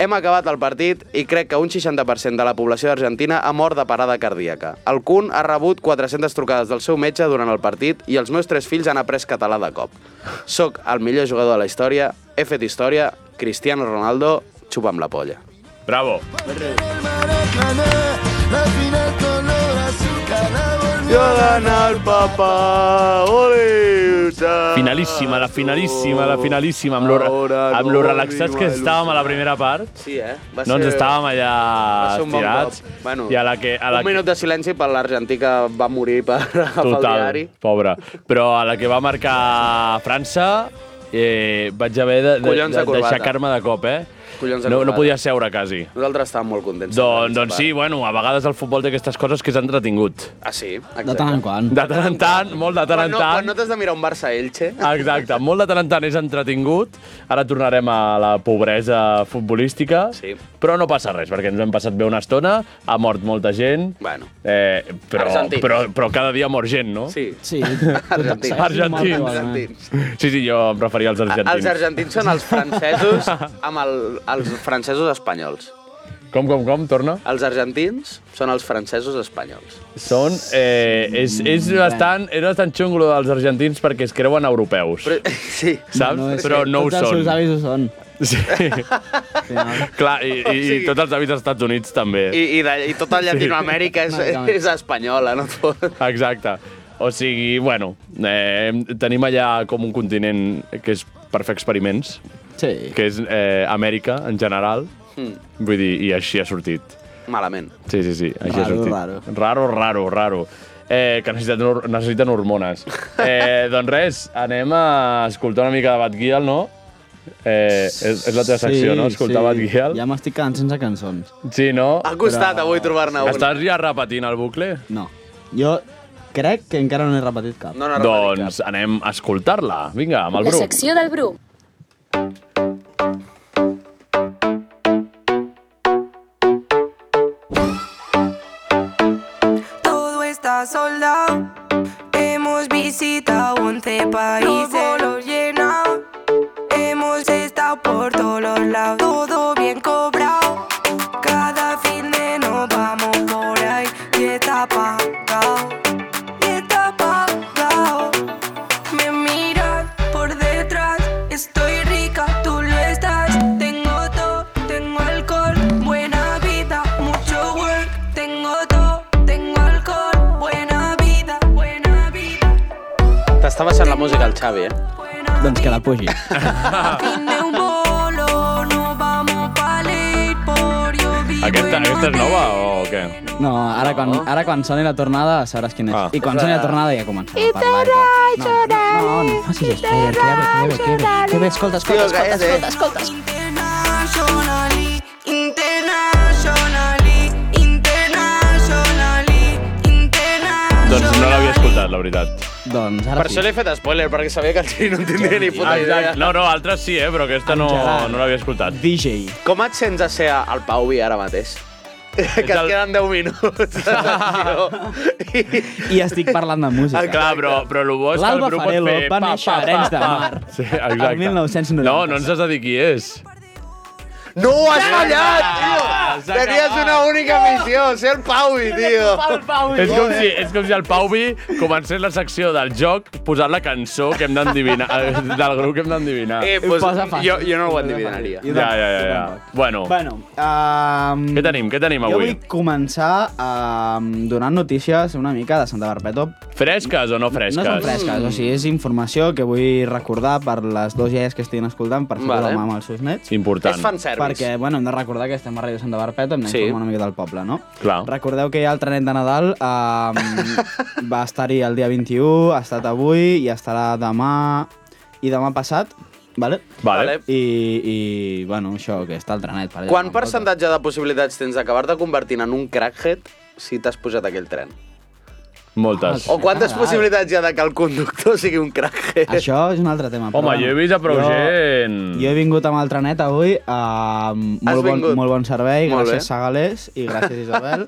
Speaker 6: Hem acabat el partit i crec que un 60% de la població argentina ha mort de parada cardíaca. El Kun ha rebut 400 trucades del seu metge durant el partit i els meus tres fills han après català de cop. Soc el millor jugador de la història, he fet història, Cristiano Ronaldo, xupa'm la polla.
Speaker 4: Bravo.
Speaker 10: La final con olor a azúcar la volvió
Speaker 6: Jo d'anar al papà, ole!
Speaker 4: Finalíssima, la finalíssima, la finalíssima. Amb lo, amb lo relaxats que estàvem a la primera part,
Speaker 6: Sí, eh? Va
Speaker 4: no ens
Speaker 6: ser-
Speaker 4: estàvem allà
Speaker 6: va ser un bon
Speaker 4: estirats.
Speaker 6: cop. Bueno,
Speaker 4: I a la que... A la
Speaker 6: un minut de silenci per l'argentí que va morir per <laughs> agafar el diari.
Speaker 4: Total, pobre. Però a la que va marcar França eh, vaig haver de, de,
Speaker 6: Collons de
Speaker 4: de,
Speaker 6: corbata.
Speaker 4: d'aixecar-me de cop, eh?
Speaker 6: Collons
Speaker 4: no, no
Speaker 6: agafada.
Speaker 4: podia seure quasi.
Speaker 6: Nosaltres estàvem molt contents.
Speaker 4: Doncs, doncs sí, bueno, a vegades el futbol té aquestes coses que és entretingut.
Speaker 6: Ah, sí? Exacte.
Speaker 5: quant.
Speaker 4: De tant en tant, molt de tant
Speaker 6: Quan
Speaker 4: en
Speaker 6: no,
Speaker 4: tant.
Speaker 6: quan no t'has de mirar un Barça-Elche.
Speaker 4: Ah, Exacte, molt de tant en tant és entretingut. Ara tornarem a la pobresa futbolística, sí. però no passa res, perquè ens hem passat bé una estona, ha mort molta gent,
Speaker 6: bueno.
Speaker 4: eh, però,
Speaker 6: Argentins.
Speaker 4: però, però cada dia mor gent, no?
Speaker 6: <laughs> Sí.
Speaker 5: Sí.
Speaker 6: Argentins.
Speaker 4: Argentins.
Speaker 6: Argentins.
Speaker 4: Sí, sí, jo em referia als argentins.
Speaker 6: Els argentins són els francesos amb el, els francesos espanyols.
Speaker 4: Com, com, com? Torna.
Speaker 6: Els argentins són els francesos espanyols. <laughs>
Speaker 4: Són, eh, és, és,
Speaker 6: Mm,
Speaker 4: bastant, és bastant xungo lo dels argentins perquè es creuen europeus.
Speaker 6: Però, sí.
Speaker 4: Saps? No, no, és Però que no ho
Speaker 5: Tots els
Speaker 4: són.
Speaker 5: seus avis ho són.
Speaker 4: Clar, i, i, i
Speaker 6: sigui-
Speaker 4: tots els avis dels Estats Units també.
Speaker 6: I, i, de, i tota Llatinoamèrica és,
Speaker 4: Bàsicament.
Speaker 6: és espanyola, no et pot...
Speaker 4: Exacte. O sigui, bueno, eh, tenim allà com un continent que és per fer experiments,
Speaker 5: sí.
Speaker 4: que és eh, Amèrica en general.
Speaker 6: Mm.
Speaker 4: Vull dir, i així ha sortit.
Speaker 6: Malament.
Speaker 4: Sí, sí, sí, així ha
Speaker 6: Raro,
Speaker 4: sortit.
Speaker 6: raro.
Speaker 4: Raro, raro, raro. Eh, que necessiten, hor- necessiten
Speaker 6: <laughs>
Speaker 4: hormones. Eh, doncs res, anem a escoltar una mica de Bad Gyal, no? Eh, és, és la teva secció, no? Escoltar Bad Gyal.
Speaker 5: Ja m'estic quedant sense cançons.
Speaker 4: Sí, no?
Speaker 6: Ha costat
Speaker 5: Però-
Speaker 6: avui trobar-ne Ah, una.
Speaker 4: Estàs ja repetint el bucle?
Speaker 5: No. Jo crec que encara no n'he repetit cap.
Speaker 6: No
Speaker 4: doncs anem a escoltar-la. Vinga, amb el
Speaker 2: La
Speaker 4: Bru.
Speaker 2: secció del Bru.
Speaker 11: Todo está soldado. Hemos visitado 11 países. Los llenado. Hemos estado por todos lados. Todo bien cobrado. Cada fin de nos vamos por ahí. Y está pagado. Y está pagado. Me miran por detrás. Estoy rica, tú lo estás. Tengo todo, tengo alcohol. Buena vida, mucho work. Tengo todo, tengo alcohol. Buena vida, buena vida.
Speaker 6: T'està baixant la música el Xavi, eh?
Speaker 5: Doncs que la pugi.
Speaker 11: Dime un bolo, nos vamos pa' por yo vivo
Speaker 4: Aquesta,
Speaker 11: en
Speaker 4: aquesta és nova o què?
Speaker 5: No, ara quan, ara quan soni la tornada sabràs quin és. Ah. I quan soni la tornada ja comencem a parlar. I t'haurà llorar. No, no, no facis això. Que bé, que bé, que bé. Que bé, escolta, escolta,
Speaker 6: Tio, que
Speaker 5: escolta,
Speaker 6: és, eh?
Speaker 5: escolta, escolta.
Speaker 11: Internationally, internationally, internationally, internationally.
Speaker 4: Doncs no l'havia escoltat, la veritat.
Speaker 5: Doncs
Speaker 6: Per això l'he fet spoiler, perquè sabia que el Xavi no en tindria ni puta idea.
Speaker 4: Ah, Exacte. No, no, altres sí, eh, però aquesta no,
Speaker 6: Gerard.
Speaker 4: no l'havia escoltat.
Speaker 5: DJ.
Speaker 6: Com et sents a ser el Pau Vi ara mateix? <laughs> que et queden 10 <laughs> minuts.
Speaker 5: I estic parlant de música.
Speaker 4: Ah, Clar, però, però <laughs> el bo és que el
Speaker 5: L'Alba
Speaker 4: grup pot
Speaker 5: Farelo
Speaker 4: fer...
Speaker 5: va néixer a Arenys de Mar.
Speaker 4: Sí, exacte.
Speaker 5: El 1990.
Speaker 4: No, no ens has de dir qui és.
Speaker 6: No ho has fallat, tio! Tenies una única missió, ser el Pauvi, tio.
Speaker 5: El Pauvi.
Speaker 4: És com, si, és com si el Pauvi comencés la secció del joc posant la cançó que hem d'endevinar, eh, del grup que hem d'endevinar.
Speaker 6: Eh, pues, jo, jo no ho endevinaria.
Speaker 4: Ja, ja, ja. ja. Bueno,
Speaker 5: Bueno, um,
Speaker 4: què tenim? Què tenim
Speaker 5: jo
Speaker 4: avui?
Speaker 5: vull començar um, donant notícies una mica de Santa Barpeto
Speaker 4: Fresques o no fresques?
Speaker 5: No són fresques, o sigui, és informació que vull recordar per les dues iaies que estiguin escoltant, per fer
Speaker 4: Vale.
Speaker 5: la mà amb els seus nets.
Speaker 4: Important. És
Speaker 6: fanservice.
Speaker 5: Perquè, bueno, hem de recordar que estem a Ràdio Santa Barpeta, hem
Speaker 6: Sí.
Speaker 5: d'informar una mica del poble, no?
Speaker 4: Clar.
Speaker 5: Recordeu que ja el trenet de Nadal
Speaker 4: <laughs>
Speaker 5: eh, va estar-hi el dia 21, ha estat avui i estarà demà i demà passat, vale?
Speaker 6: Vale.
Speaker 5: I, i bueno, això, que està el trenet. Per allà.
Speaker 6: Quant percentatge de possibilitats tens d'acabar-te convertint en un crackhead si t'has pujat a aquell tren?
Speaker 4: Moltes.
Speaker 6: O quantes possibilitats hi ha de que el conductor sigui un crackhead?
Speaker 5: Ah. Això és un altre tema. però
Speaker 4: Home, jo he vist a prou
Speaker 5: jo-
Speaker 4: gent.
Speaker 6: Mm.
Speaker 5: Jo he vingut amb el trenet avui, uh, molt, bon,
Speaker 4: vingut.
Speaker 5: molt bon servei,
Speaker 4: Molt
Speaker 5: gràcies
Speaker 4: bé.
Speaker 5: Sagalés
Speaker 6: <laughs>
Speaker 5: i gràcies Isabel.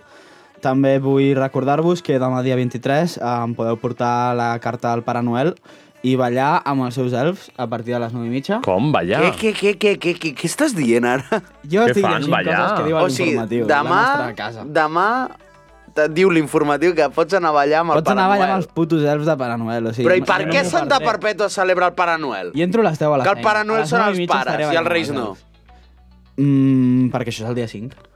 Speaker 5: També vull recordar-vos que demà dia 23 eh, em podeu portar la carta al Pare Noel i ballar amb els seus elfs a partir de les 9 i mitja.
Speaker 4: Com ballar?
Speaker 6: Què, què, què, què, què, què estàs dient ara?
Speaker 5: Jo estic llegint coses que diu
Speaker 6: o sigui,
Speaker 5: l'informatiu. de la
Speaker 6: demà,
Speaker 5: nostra casa.
Speaker 6: demà te diu l'informatiu que pots anar a ballar amb el
Speaker 5: Pots
Speaker 6: Pare
Speaker 5: anar a ballar amb
Speaker 6: Noel.
Speaker 5: els putos elfs de Pare Noel. O sigui,
Speaker 6: Però i per què
Speaker 5: m'ho
Speaker 6: Santa
Speaker 5: perdré.
Speaker 6: Perpètua celebra el Pare Noel?
Speaker 5: Jo entro a les 10 a la
Speaker 6: Que el
Speaker 5: feina.
Speaker 6: Pare
Speaker 5: A
Speaker 6: Noel
Speaker 5: les
Speaker 6: són
Speaker 5: 9 i
Speaker 6: els
Speaker 5: mitja estaré
Speaker 6: pares i
Speaker 5: ballant
Speaker 6: els
Speaker 5: amb
Speaker 6: reis
Speaker 5: els
Speaker 6: no.
Speaker 5: elfs. Mm, perquè això és el dia 5.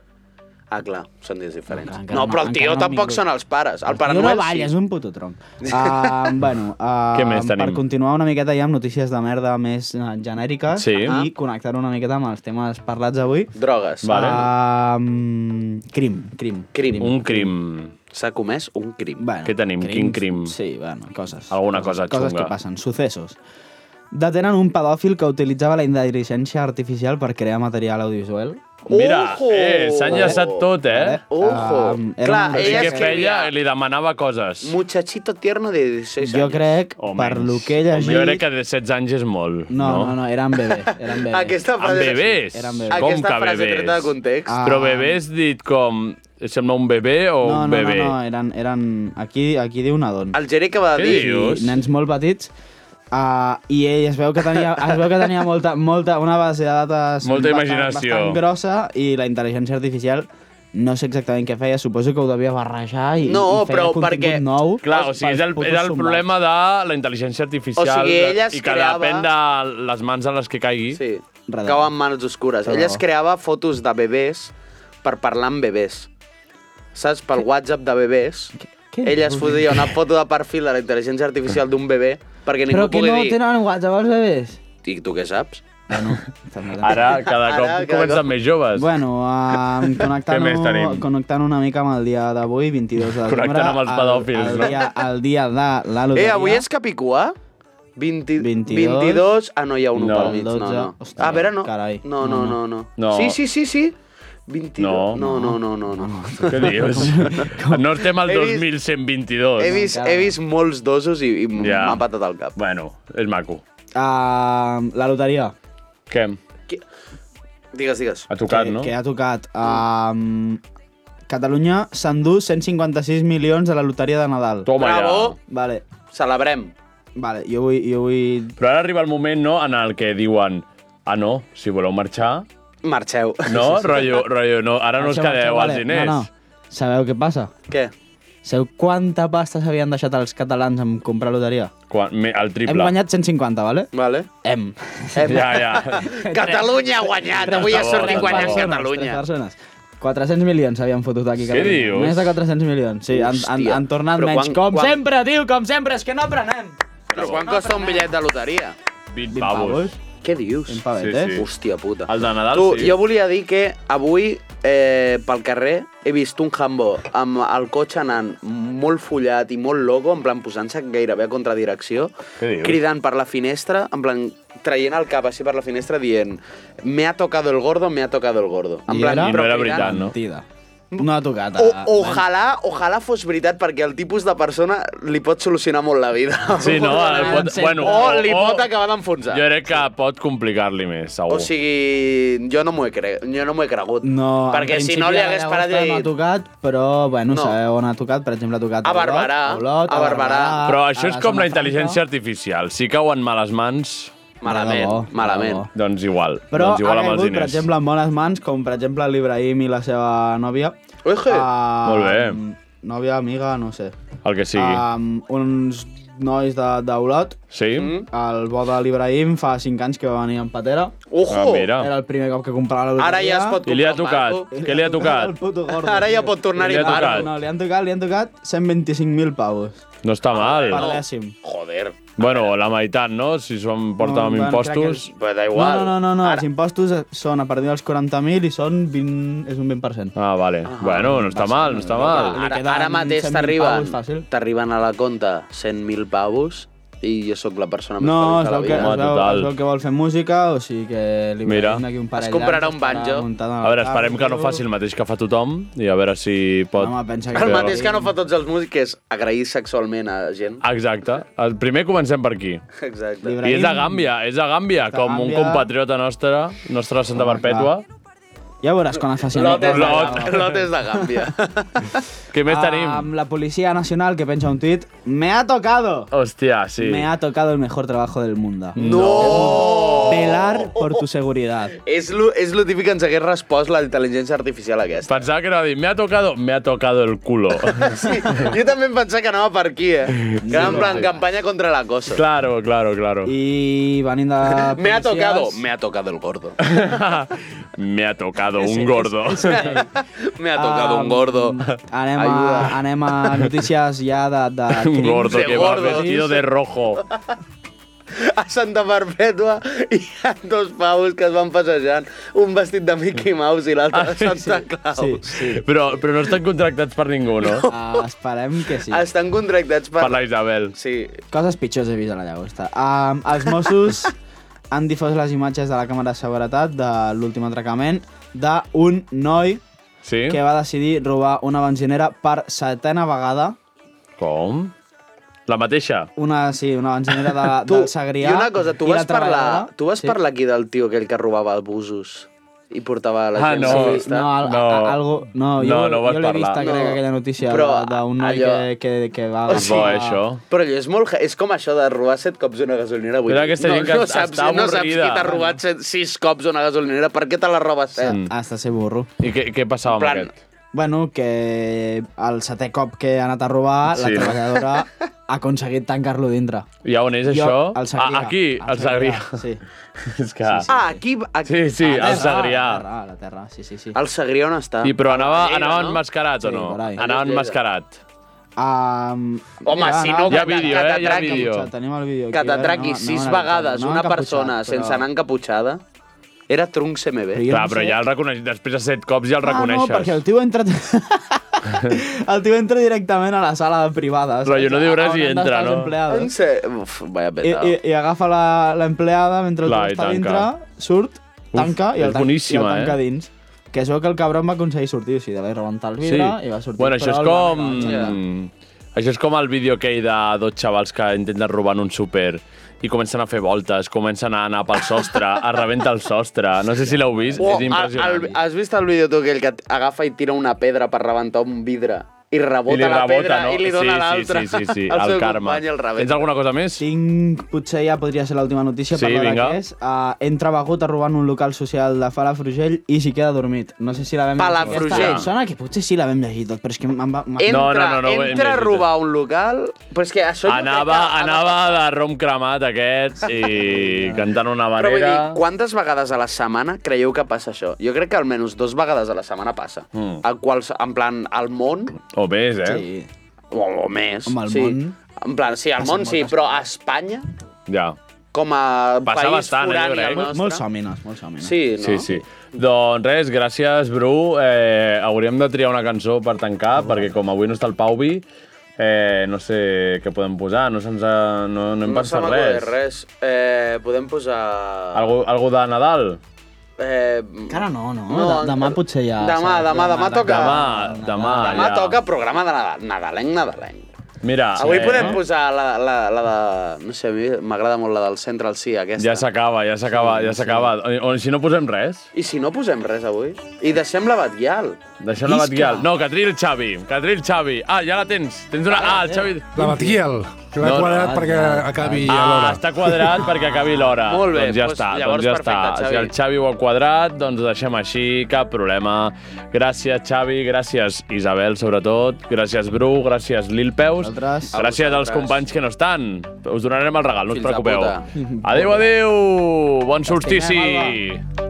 Speaker 6: Ah, clar, són dies diferents.
Speaker 5: encara
Speaker 6: No,
Speaker 5: no-
Speaker 6: però el
Speaker 5: encara
Speaker 6: tio
Speaker 5: no han
Speaker 6: tampoc
Speaker 5: vingut.
Speaker 6: són els pares. El Pare
Speaker 5: Jo no
Speaker 6: Noel
Speaker 5: ballo, és
Speaker 6: sí.
Speaker 5: un puto tronc. Uh,
Speaker 6: <laughs>
Speaker 5: bueno, uh,
Speaker 4: Què més tenim?
Speaker 5: per continuar una miqueta ja amb notícies de merda més eh, genèriques
Speaker 4: Sí.
Speaker 5: i connectar una miqueta amb els temes parlats avui.
Speaker 6: Drogues.
Speaker 5: Vale. Uh, crim, crim.
Speaker 6: Crim.
Speaker 4: Un crim.
Speaker 6: S'ha comès un crim.
Speaker 5: Bueno,
Speaker 4: Què tenim? Quin crim?
Speaker 5: Sí, bueno, coses.
Speaker 4: Alguna cosa
Speaker 5: Coses
Speaker 4: xunga.
Speaker 5: que passen, sucessos. Detenen un pedòfil que utilitzava la intel·ligència artificial per crear material audiovisual.
Speaker 4: Mira, eh, s'ha enllaçat tot, eh?
Speaker 5: Ojo. Um, era Clar, un-
Speaker 4: I
Speaker 5: ella
Speaker 4: què
Speaker 5: escrivia-
Speaker 4: feia? Li demanava coses.
Speaker 6: Muchachito tierno de 16
Speaker 5: Jo
Speaker 6: anys.
Speaker 5: crec, per lo que he llegit...
Speaker 4: Jo crec que de 16 anys és molt,
Speaker 5: No,
Speaker 4: no?
Speaker 5: no, no, eren bebès. Eren bebès.
Speaker 6: Aquesta
Speaker 4: Amb
Speaker 6: frase...
Speaker 4: bebès?
Speaker 6: Eren
Speaker 4: Com
Speaker 6: Aquesta
Speaker 4: que
Speaker 6: frase
Speaker 4: bebès?
Speaker 6: treta de context.
Speaker 4: Ah. Però bebès dit com... Sembla un bebè o
Speaker 5: no,
Speaker 4: un
Speaker 5: no,
Speaker 4: bebè?
Speaker 5: no, no, eren, eren... Aquí, aquí diu nadons.
Speaker 6: El Jerry que va
Speaker 4: Què
Speaker 6: dir...
Speaker 4: dius?
Speaker 5: Nens molt petits. Uh, I ell es veu que tenia, es veu que
Speaker 4: <laughs>
Speaker 5: tenia molta, molta, una base de dates
Speaker 4: Molta
Speaker 5: bastant-
Speaker 4: imaginació.
Speaker 5: bastant grossa i la intel·ligència artificial no sé exactament què feia, suposo que ho devia barrejar i,
Speaker 6: No,
Speaker 5: i feia
Speaker 6: però
Speaker 5: contingut
Speaker 6: perquè-
Speaker 5: nou.
Speaker 4: Clar, o sigui, és el,
Speaker 5: pels
Speaker 4: és el
Speaker 5: putos
Speaker 4: problema de la intel·ligència artificial
Speaker 6: O sigui, ella es
Speaker 4: i que
Speaker 6: creava-
Speaker 4: depèn de les mans a les que caigui.
Speaker 6: Sí, Cau en mans oscures. Ella es creava fotos de bebès per parlar amb bebès. Saps? Pel WhatsApp de bebès. Ella es fotia una foto de perfil de la intel·ligència artificial d'un bebè perquè ningú
Speaker 5: Però que
Speaker 6: pugui
Speaker 5: no
Speaker 6: dir...
Speaker 5: tenen WhatsApp els bebès?
Speaker 6: I tu què saps?
Speaker 4: Ara cada cop
Speaker 6: Ara, cada
Speaker 4: comencen
Speaker 6: cop.
Speaker 4: més joves.
Speaker 5: Bueno, um,
Speaker 4: Què més
Speaker 5: connectant,
Speaker 4: tenim?
Speaker 5: connectant una mica amb el dia d'avui, 22 de desembre.
Speaker 4: Connectant amb els
Speaker 5: el-
Speaker 4: pedòfils,
Speaker 5: el,
Speaker 4: no?
Speaker 5: dia, el dia de la
Speaker 6: Eh,
Speaker 5: loteria.
Speaker 6: avui és Capicua? 20, 22.
Speaker 5: 22.
Speaker 6: 22. Ah, no, hi ha un no,
Speaker 4: No.
Speaker 6: pel mig. No,
Speaker 5: 12.
Speaker 6: no.
Speaker 5: Hòstia,
Speaker 6: Ah, a veure, no.
Speaker 5: carai.
Speaker 6: No, no, no, no.
Speaker 4: No.
Speaker 6: Sí, sí, sí, sí. 22.
Speaker 4: No.
Speaker 6: no, no, no, no. no.
Speaker 4: <laughs> Què dius? No estem al
Speaker 6: He vist-
Speaker 4: 2122.
Speaker 6: He vist, he vist molts dosos i, i m'ha
Speaker 4: Ja.
Speaker 6: patat el cap.
Speaker 4: Bueno, és maco.
Speaker 5: Uh, la loteria.
Speaker 4: Què?
Speaker 6: Digues, digues.
Speaker 4: Ha tocat,
Speaker 5: que,
Speaker 4: no?
Speaker 5: Que ha tocat. Um, Catalunya s'endú 156 milions a la loteria de Nadal.
Speaker 4: Toma ja. Bravo.
Speaker 5: Vale.
Speaker 6: Celebrem.
Speaker 5: Vale, jo vull... Jo vull...
Speaker 4: Però ara arriba el moment, no?, en el que diuen ah, no, si voleu marxar...
Speaker 6: Marxeu.
Speaker 4: No, rotllo, rotllo, no, ara no us
Speaker 5: Marxeu, marxeu,
Speaker 4: quedeu als diners.
Speaker 5: No, no. Sabeu què passa?
Speaker 6: <laughs> Què?
Speaker 5: Sabeu quanta pasta s'havien deixat els catalans en comprar loteria?
Speaker 4: Quan, me, el
Speaker 5: Hem
Speaker 4: triple.
Speaker 5: guanyat 150, vale?
Speaker 6: Vale.
Speaker 5: Hem.
Speaker 4: <laughs>
Speaker 5: <laughs>
Speaker 4: Ja, ja.
Speaker 6: Catalunya ha guanyat. Avui ha
Speaker 5: Tres
Speaker 6: sortit
Speaker 5: persones,
Speaker 6: guanyant
Speaker 5: tres
Speaker 6: Catalunya.
Speaker 5: persones. 400 milions s'havien fotut aquí. a
Speaker 4: Què
Speaker 5: Catalunya.
Speaker 4: dius?
Speaker 5: Més de 400 milions, sí. Han, han,
Speaker 6: Hòstia.
Speaker 5: han tornat
Speaker 6: Però
Speaker 5: menys.
Speaker 6: quan-
Speaker 5: com
Speaker 6: quan-
Speaker 5: sempre, tio, com sempre. És que no aprenem.
Speaker 6: Però quan costa un bitllet de loteria?
Speaker 4: 20 pavos.
Speaker 6: Què dius?
Speaker 5: Ben pavetes.
Speaker 4: Sí, sí.
Speaker 6: Hòstia puta.
Speaker 4: El de Nadal,
Speaker 6: tu,
Speaker 4: sí.
Speaker 6: Jo volia dir que avui eh, pel carrer he vist un Hambo amb el cotxe anant molt follat i molt loco, en plan posant-se gairebé a contradirecció,
Speaker 4: Què dius?
Speaker 6: cridant per la finestra, en plan traient el cap així per la finestra dient me ha tocado el gordo, me ha tocado el gordo. En
Speaker 5: I
Speaker 6: plan,
Speaker 5: era? I no
Speaker 6: però
Speaker 4: era
Speaker 6: cridant.
Speaker 4: veritat, no?
Speaker 5: Mentida. No ha tocat. eh?
Speaker 6: O,
Speaker 4: Ah,
Speaker 5: a-
Speaker 6: ojalà, ojalà fos veritat, perquè el tipus de persona li pot solucionar molt la vida.
Speaker 4: Sí, no, el pot- bueno,
Speaker 6: <laughs> o Oh, li
Speaker 4: o-
Speaker 6: pot acabar d'enfonsar.
Speaker 4: Jo crec que pot complicar-li més, segur.
Speaker 6: O sigui, jo no m'ho he, cre... jo no m'ho he cregut.
Speaker 5: No, en
Speaker 6: perquè si
Speaker 5: principi
Speaker 6: no li
Speaker 5: la
Speaker 6: hagués
Speaker 5: llagosta
Speaker 6: parat i
Speaker 5: No ha
Speaker 6: dit...
Speaker 5: tocat, però, bueno,
Speaker 6: No.
Speaker 5: no. sabeu on ha tocat. Per exemple, ha tocat
Speaker 6: A Barberà,
Speaker 5: Olot, Olot,
Speaker 6: a Barberà.
Speaker 4: Però això
Speaker 5: a
Speaker 4: és
Speaker 5: la
Speaker 4: com
Speaker 5: zona
Speaker 4: la
Speaker 5: franca.
Speaker 4: intel·ligència artificial. Si cau en males mans...
Speaker 6: Malament,
Speaker 5: Bravo,
Speaker 6: malament.
Speaker 5: bravo.
Speaker 4: Doncs igual.
Speaker 5: Però
Speaker 4: doncs igual
Speaker 5: ha
Speaker 4: amb els
Speaker 5: caigut, per
Speaker 4: diners.
Speaker 5: exemple, en bones mans, com per exemple l'Ibrahim i la seva nòvia.
Speaker 6: Oje.
Speaker 5: Ah,
Speaker 4: Molt bé.
Speaker 5: Nòvia, amiga, no sé.
Speaker 4: El que sigui.
Speaker 5: Um, uns nois de- d'Olot.
Speaker 4: sí?
Speaker 5: mm. El bo de l'Ibrahim fa 5 anys que va venir en patera.
Speaker 6: Ojo!
Speaker 4: Ah, mira.
Speaker 5: Oh, Era el primer cop que comprava la loteria.
Speaker 6: Ara ja es pot
Speaker 4: I li ha
Speaker 6: comprar un
Speaker 4: tocat? Què li ha
Speaker 5: <laughs> El
Speaker 4: tocat?
Speaker 5: puto gordo.
Speaker 6: Ara ja
Speaker 5: tio.
Speaker 6: pot tornar-hi
Speaker 4: Li ha
Speaker 6: mal.
Speaker 4: tocat.
Speaker 5: No, li han tocat, li han tocat 125.000 pavos.
Speaker 4: No està
Speaker 5: Ah,
Speaker 4: mal.
Speaker 5: Per dècim.
Speaker 6: Joder.
Speaker 4: Bueno, la meitat, no? Si se'n porta
Speaker 5: No,
Speaker 4: amb
Speaker 5: bueno,
Speaker 4: impostos...
Speaker 6: Però pues da
Speaker 5: No,
Speaker 6: igual.
Speaker 5: no, no, no, no. els impostos són a partir dels 40.000 i són 20, és un 20%.
Speaker 4: Ah, vale. Bueno, no està mal, no està mal.
Speaker 6: Ara,
Speaker 5: queden
Speaker 6: ara mateix
Speaker 5: 100.000
Speaker 6: t'arriben
Speaker 5: pavos fàcil.
Speaker 6: t'arriben a la compta 100.000 pavos i jo sóc la persona més
Speaker 5: No,
Speaker 6: feliç
Speaker 5: es
Speaker 6: de la
Speaker 5: veu, que,
Speaker 6: vida.
Speaker 5: es, veu,
Speaker 4: total.
Speaker 5: es veu que vol fer música, o sigui que li
Speaker 4: Mira.
Speaker 5: venim aquí un parell
Speaker 6: Es comprarà
Speaker 5: d'anys,
Speaker 6: un
Speaker 5: estarà
Speaker 6: banjo.
Speaker 5: muntant en
Speaker 4: A
Speaker 5: el
Speaker 4: veure, esperem que no
Speaker 5: carro.
Speaker 4: faci el mateix que fa tothom i a veure si pot...
Speaker 5: Home, pensa que...
Speaker 6: El mateix que no fa tots els músics, que és agrair sexualment a gent.
Speaker 4: Ah, Exacte. El primer comencem per aquí.
Speaker 6: Exacte.
Speaker 5: Libre.
Speaker 4: I és a Gàmbia, és a Gàmbia,
Speaker 5: de
Speaker 4: com un
Speaker 5: Gàmbia.
Speaker 4: compatriota nostre, nostra Santa
Speaker 5: Home,
Speaker 4: Perpètua.
Speaker 5: Ja veuràs quan es faci el
Speaker 6: Lotes de,
Speaker 4: Lot.
Speaker 6: lotes de Gàmbia.
Speaker 4: Què més tenim?
Speaker 5: Amb la Policia Nacional que penja un tuit Me ha tocado!
Speaker 4: Hòstia, sí.
Speaker 5: Me ha tocado el mejor trabajo del mundo.
Speaker 6: No!
Speaker 5: Velar por tu seguridad.
Speaker 6: És lo, és lo típic que ens hagués respost la intel·ligència artificial aquesta.
Speaker 4: Pensava que anava a dir, me ha tocado, me ha tocado el
Speaker 5: <laughs>
Speaker 4: culo.
Speaker 6: Sí, jo també em pensava que anava per aquí, eh? Que anava en plan campanya contra la cosa.
Speaker 4: claro, claro, claro.
Speaker 5: I venim
Speaker 6: <laughs>
Speaker 5: de...
Speaker 6: Me ha
Speaker 5: policies-
Speaker 6: tocado, me ha tocado el gordo.
Speaker 4: <laughs> me ha tocado un gordo.
Speaker 6: Me ha tocado un gordo.
Speaker 5: Ah, Anem a,
Speaker 6: Ayuda.
Speaker 5: anem a notícies ja de... de
Speaker 4: <laughs> un
Speaker 5: crims.
Speaker 4: gordo
Speaker 6: De
Speaker 4: que va
Speaker 6: gordos.
Speaker 4: vestido de rojo.
Speaker 6: a Santa Perpètua hi ha dos paus que es van passejant, un vestit de Mickey Mouse i l'altre de Santa Claus.
Speaker 4: Sí, sí. Però, però no estan contractats per ningú, no?
Speaker 6: No.
Speaker 5: Uh, esperem que sí.
Speaker 6: Estan contractats per...
Speaker 4: Per la Isabel.
Speaker 6: Sí.
Speaker 5: Coses pitjors he vist a la llagosta. Um, els Mossos
Speaker 6: <laughs>
Speaker 5: han difós les imatges de la càmera de seguretat de l'últim atracament d'un noi
Speaker 4: sí?
Speaker 5: que va decidir robar una benzinera per setena vegada.
Speaker 4: Com? La mateixa?
Speaker 5: Una, sí, una benzinera de,
Speaker 6: <laughs>
Speaker 5: del Segrià.
Speaker 6: I una cosa, tu
Speaker 5: i la
Speaker 6: vas parlar,
Speaker 5: treballadora-
Speaker 6: tu vas
Speaker 5: Sí.
Speaker 6: sí. parlar aquí del tio aquell que robava busos i portava la
Speaker 5: Ah,
Speaker 6: gent
Speaker 5: no,
Speaker 6: a la festa?
Speaker 5: no, al- No. a- algo- no, jo- No, no vas jo l'he parlar. vista, crec, aquella notícia de- d'un noi que- que- que va
Speaker 6: O sigui,
Speaker 4: eh,
Speaker 5: agafar- És bo, això.
Speaker 6: Però allò és, molt, ge- és com això de robar set cops una gasolinera. Vull
Speaker 4: Però
Speaker 6: dir,
Speaker 4: aquesta
Speaker 6: no,
Speaker 4: gent que
Speaker 6: no
Speaker 4: es-
Speaker 6: saps,
Speaker 4: està
Speaker 6: no saps qui
Speaker 4: avorrida.
Speaker 6: t'ha robat set, sis cops una gasolinera, per què te la robes set?
Speaker 5: Sí. Has de ser burro.
Speaker 4: I què, què passava
Speaker 6: amb plan, aquest?
Speaker 5: Bueno, que el setè cop que ha anat a robar, sí.
Speaker 4: Sí.
Speaker 5: la treballadora
Speaker 4: <laughs>
Speaker 5: ha aconseguit tancar-lo dintre.
Speaker 4: I a on és
Speaker 5: Jo,
Speaker 4: això?
Speaker 5: al Segrià.
Speaker 4: Ah, aquí, al Segrià.
Speaker 5: Sí.
Speaker 4: <laughs>
Speaker 5: Ah,
Speaker 4: És que...
Speaker 6: Ah, aquí... aquí.
Speaker 4: Sí, sí,
Speaker 5: A la
Speaker 4: al
Speaker 5: terra,
Speaker 4: Segrià.
Speaker 5: A la terra, a la terra, sí, sí. sí.
Speaker 6: El Segrià on està?
Speaker 4: I però anava,
Speaker 6: Lleida,
Speaker 4: anava
Speaker 6: no?
Speaker 4: enmascarat o
Speaker 5: Sí,
Speaker 4: no?
Speaker 5: por ahí.
Speaker 4: anava enmascarat.
Speaker 5: Um,
Speaker 6: Home, si no,
Speaker 4: Hi ha vídeo, eh? Hi ha
Speaker 6: t'atraqui.
Speaker 4: vídeo.
Speaker 5: Tenim el vídeo aquí. eh,
Speaker 6: que t'atraqui sis vegades una persona sense anar encaputxada, era tronc CMB.
Speaker 4: Clar, però ja el reconeix... Després de set cops ja el
Speaker 5: Ah, no,
Speaker 4: reconeixes.
Speaker 5: perquè el tio entra... <laughs> el tio entra directament a la sala privada.
Speaker 4: Però jo no diu res
Speaker 5: On
Speaker 4: i
Speaker 5: han d'estar
Speaker 4: entra,
Speaker 5: els
Speaker 4: no?
Speaker 5: empleados.
Speaker 6: En sé... Uf, vaya
Speaker 5: I,
Speaker 6: petao.
Speaker 5: i, i agafa la- l'empleada mentre el
Speaker 4: Clar,
Speaker 5: tio
Speaker 4: i
Speaker 5: està dintre,
Speaker 4: tanca.
Speaker 5: surt, tanca i
Speaker 4: és
Speaker 5: el, tan i el
Speaker 4: boníssima,
Speaker 5: tanca
Speaker 4: eh?
Speaker 5: dins. Que es veu que el cabron va aconseguir sortir, o sigui, de vaig rebentar el vidre i va sortir.
Speaker 4: Bueno, això és
Speaker 5: però el van
Speaker 4: com...
Speaker 5: acabar aixecant.
Speaker 4: Això és com el vídeo aquell de dos xavals que intenten robar en un súper i comencen a fer voltes, comencen a anar pel sostre, a rebenta el sostre. No sé si l'heu vist,
Speaker 6: Oh,
Speaker 4: és impressionant.
Speaker 6: el- el- has vist el vídeo tu aquell que t- agafa i tira una pedra per rebentar un vidre i rebota
Speaker 4: I li
Speaker 6: la
Speaker 4: rebota,
Speaker 6: pedra
Speaker 4: no?
Speaker 6: i li dona
Speaker 4: Sí, sí,
Speaker 6: l'altra.
Speaker 4: sí, sí, sí,
Speaker 6: al
Speaker 4: el
Speaker 6: seu
Speaker 4: karma.
Speaker 6: company i el rebenta.
Speaker 4: Tens alguna cosa més?
Speaker 5: Tinc, potser ja podria ser l'última notícia,
Speaker 4: Sí,
Speaker 5: per veure
Speaker 4: vinga.
Speaker 5: què és. Uh, entra begut a robar en un local social de Palafrugell i s'hi queda dormit. No sé si la vam
Speaker 6: Palafrugell. Eh,
Speaker 5: Em Sona que potser sí la vam llegir tot, però és que em va... m'ha-
Speaker 6: Entra, entra a robar a un local... Però és que això... jo crec
Speaker 4: Anava,
Speaker 6: que-
Speaker 4: anava de rom cremat aquest i cantant una
Speaker 6: Però vull
Speaker 4: manera...
Speaker 6: dir, quantes vegades a la setmana creieu que passa això? Jo crec que almenys dos vegades a la setmana passa.
Speaker 4: Mm.
Speaker 6: A quals, en plan, al món...
Speaker 4: O més, eh?
Speaker 6: O, o més.
Speaker 4: Home, al
Speaker 6: sí.
Speaker 4: món-
Speaker 6: En plan, sí, al
Speaker 4: Passen
Speaker 6: món sí,
Speaker 4: moltes
Speaker 6: però a Espanya,
Speaker 4: Ja.
Speaker 6: com a
Speaker 4: Passa
Speaker 6: país
Speaker 4: bastant, eh, jo
Speaker 6: forani
Speaker 4: crec.
Speaker 6: al nostre...
Speaker 5: Molts hòmines, molts
Speaker 4: eh?
Speaker 5: hòmines.
Speaker 6: Sí,
Speaker 4: Sí, sí. Doncs res, gràcies, Bru. Eh, hauríem de triar una cançó per tancar, perquè com avui no està el Pauvi, eh, no sé què podem posar, no, se'ns ha, no, no hem
Speaker 6: No se
Speaker 4: pensat
Speaker 6: m'acuda
Speaker 4: res.
Speaker 6: res. Eh, podem posar...
Speaker 4: Algú, algú de Nadal?
Speaker 6: Eh,
Speaker 5: Encara no, no?
Speaker 6: No,
Speaker 5: de, demà potser ja...
Speaker 6: demà,
Speaker 5: saps?
Speaker 6: demà, demà toca...
Speaker 4: Demà, demà,
Speaker 6: Demà
Speaker 4: ja.
Speaker 6: toca programa de Nadal, nadalenc, nadalenc.
Speaker 4: Mira,
Speaker 6: Avui
Speaker 4: eh,
Speaker 6: podem posar la, la, la de... No sé, a mi m'agrada molt la del centre, el sí, aquesta.
Speaker 4: Ja s'acaba, ja s'acaba, ja s'acaba. O, o si no posem res,
Speaker 6: I si no posem res avui? I deixem la Batguial.
Speaker 4: deixem la
Speaker 6: Isca.
Speaker 4: Batguial. No, que triï el Xavi, que triï el Xavi. Ah, ja la tens. Tens una... Ah, el Xavi...
Speaker 8: La Batguiel, que l'ha quadrat perquè acabi a l'hora.
Speaker 4: Ah, està quadrat perquè acabi l'hora.
Speaker 8: <laughs> Molt bé,
Speaker 4: doncs ja
Speaker 8: doncs
Speaker 4: està.
Speaker 8: llavors
Speaker 4: doncs ja
Speaker 8: perfecte,
Speaker 4: està.
Speaker 8: Xavi.
Speaker 4: Si el Xavi ho ha quadrat, doncs ho deixem així, cap problema. Gràcies, Xavi, gràcies, Isabel, sobretot. Gràcies, Bru, gràcies, Lil Peus.
Speaker 5: Nosaltres.
Speaker 4: Gràcies
Speaker 5: A
Speaker 4: als
Speaker 5: vosaltres.
Speaker 4: companys que no estan. Us donarem el regal, no us
Speaker 5: Fills de
Speaker 4: preocupeu.
Speaker 5: puta.
Speaker 4: Adéu, adéu! Bon solstici!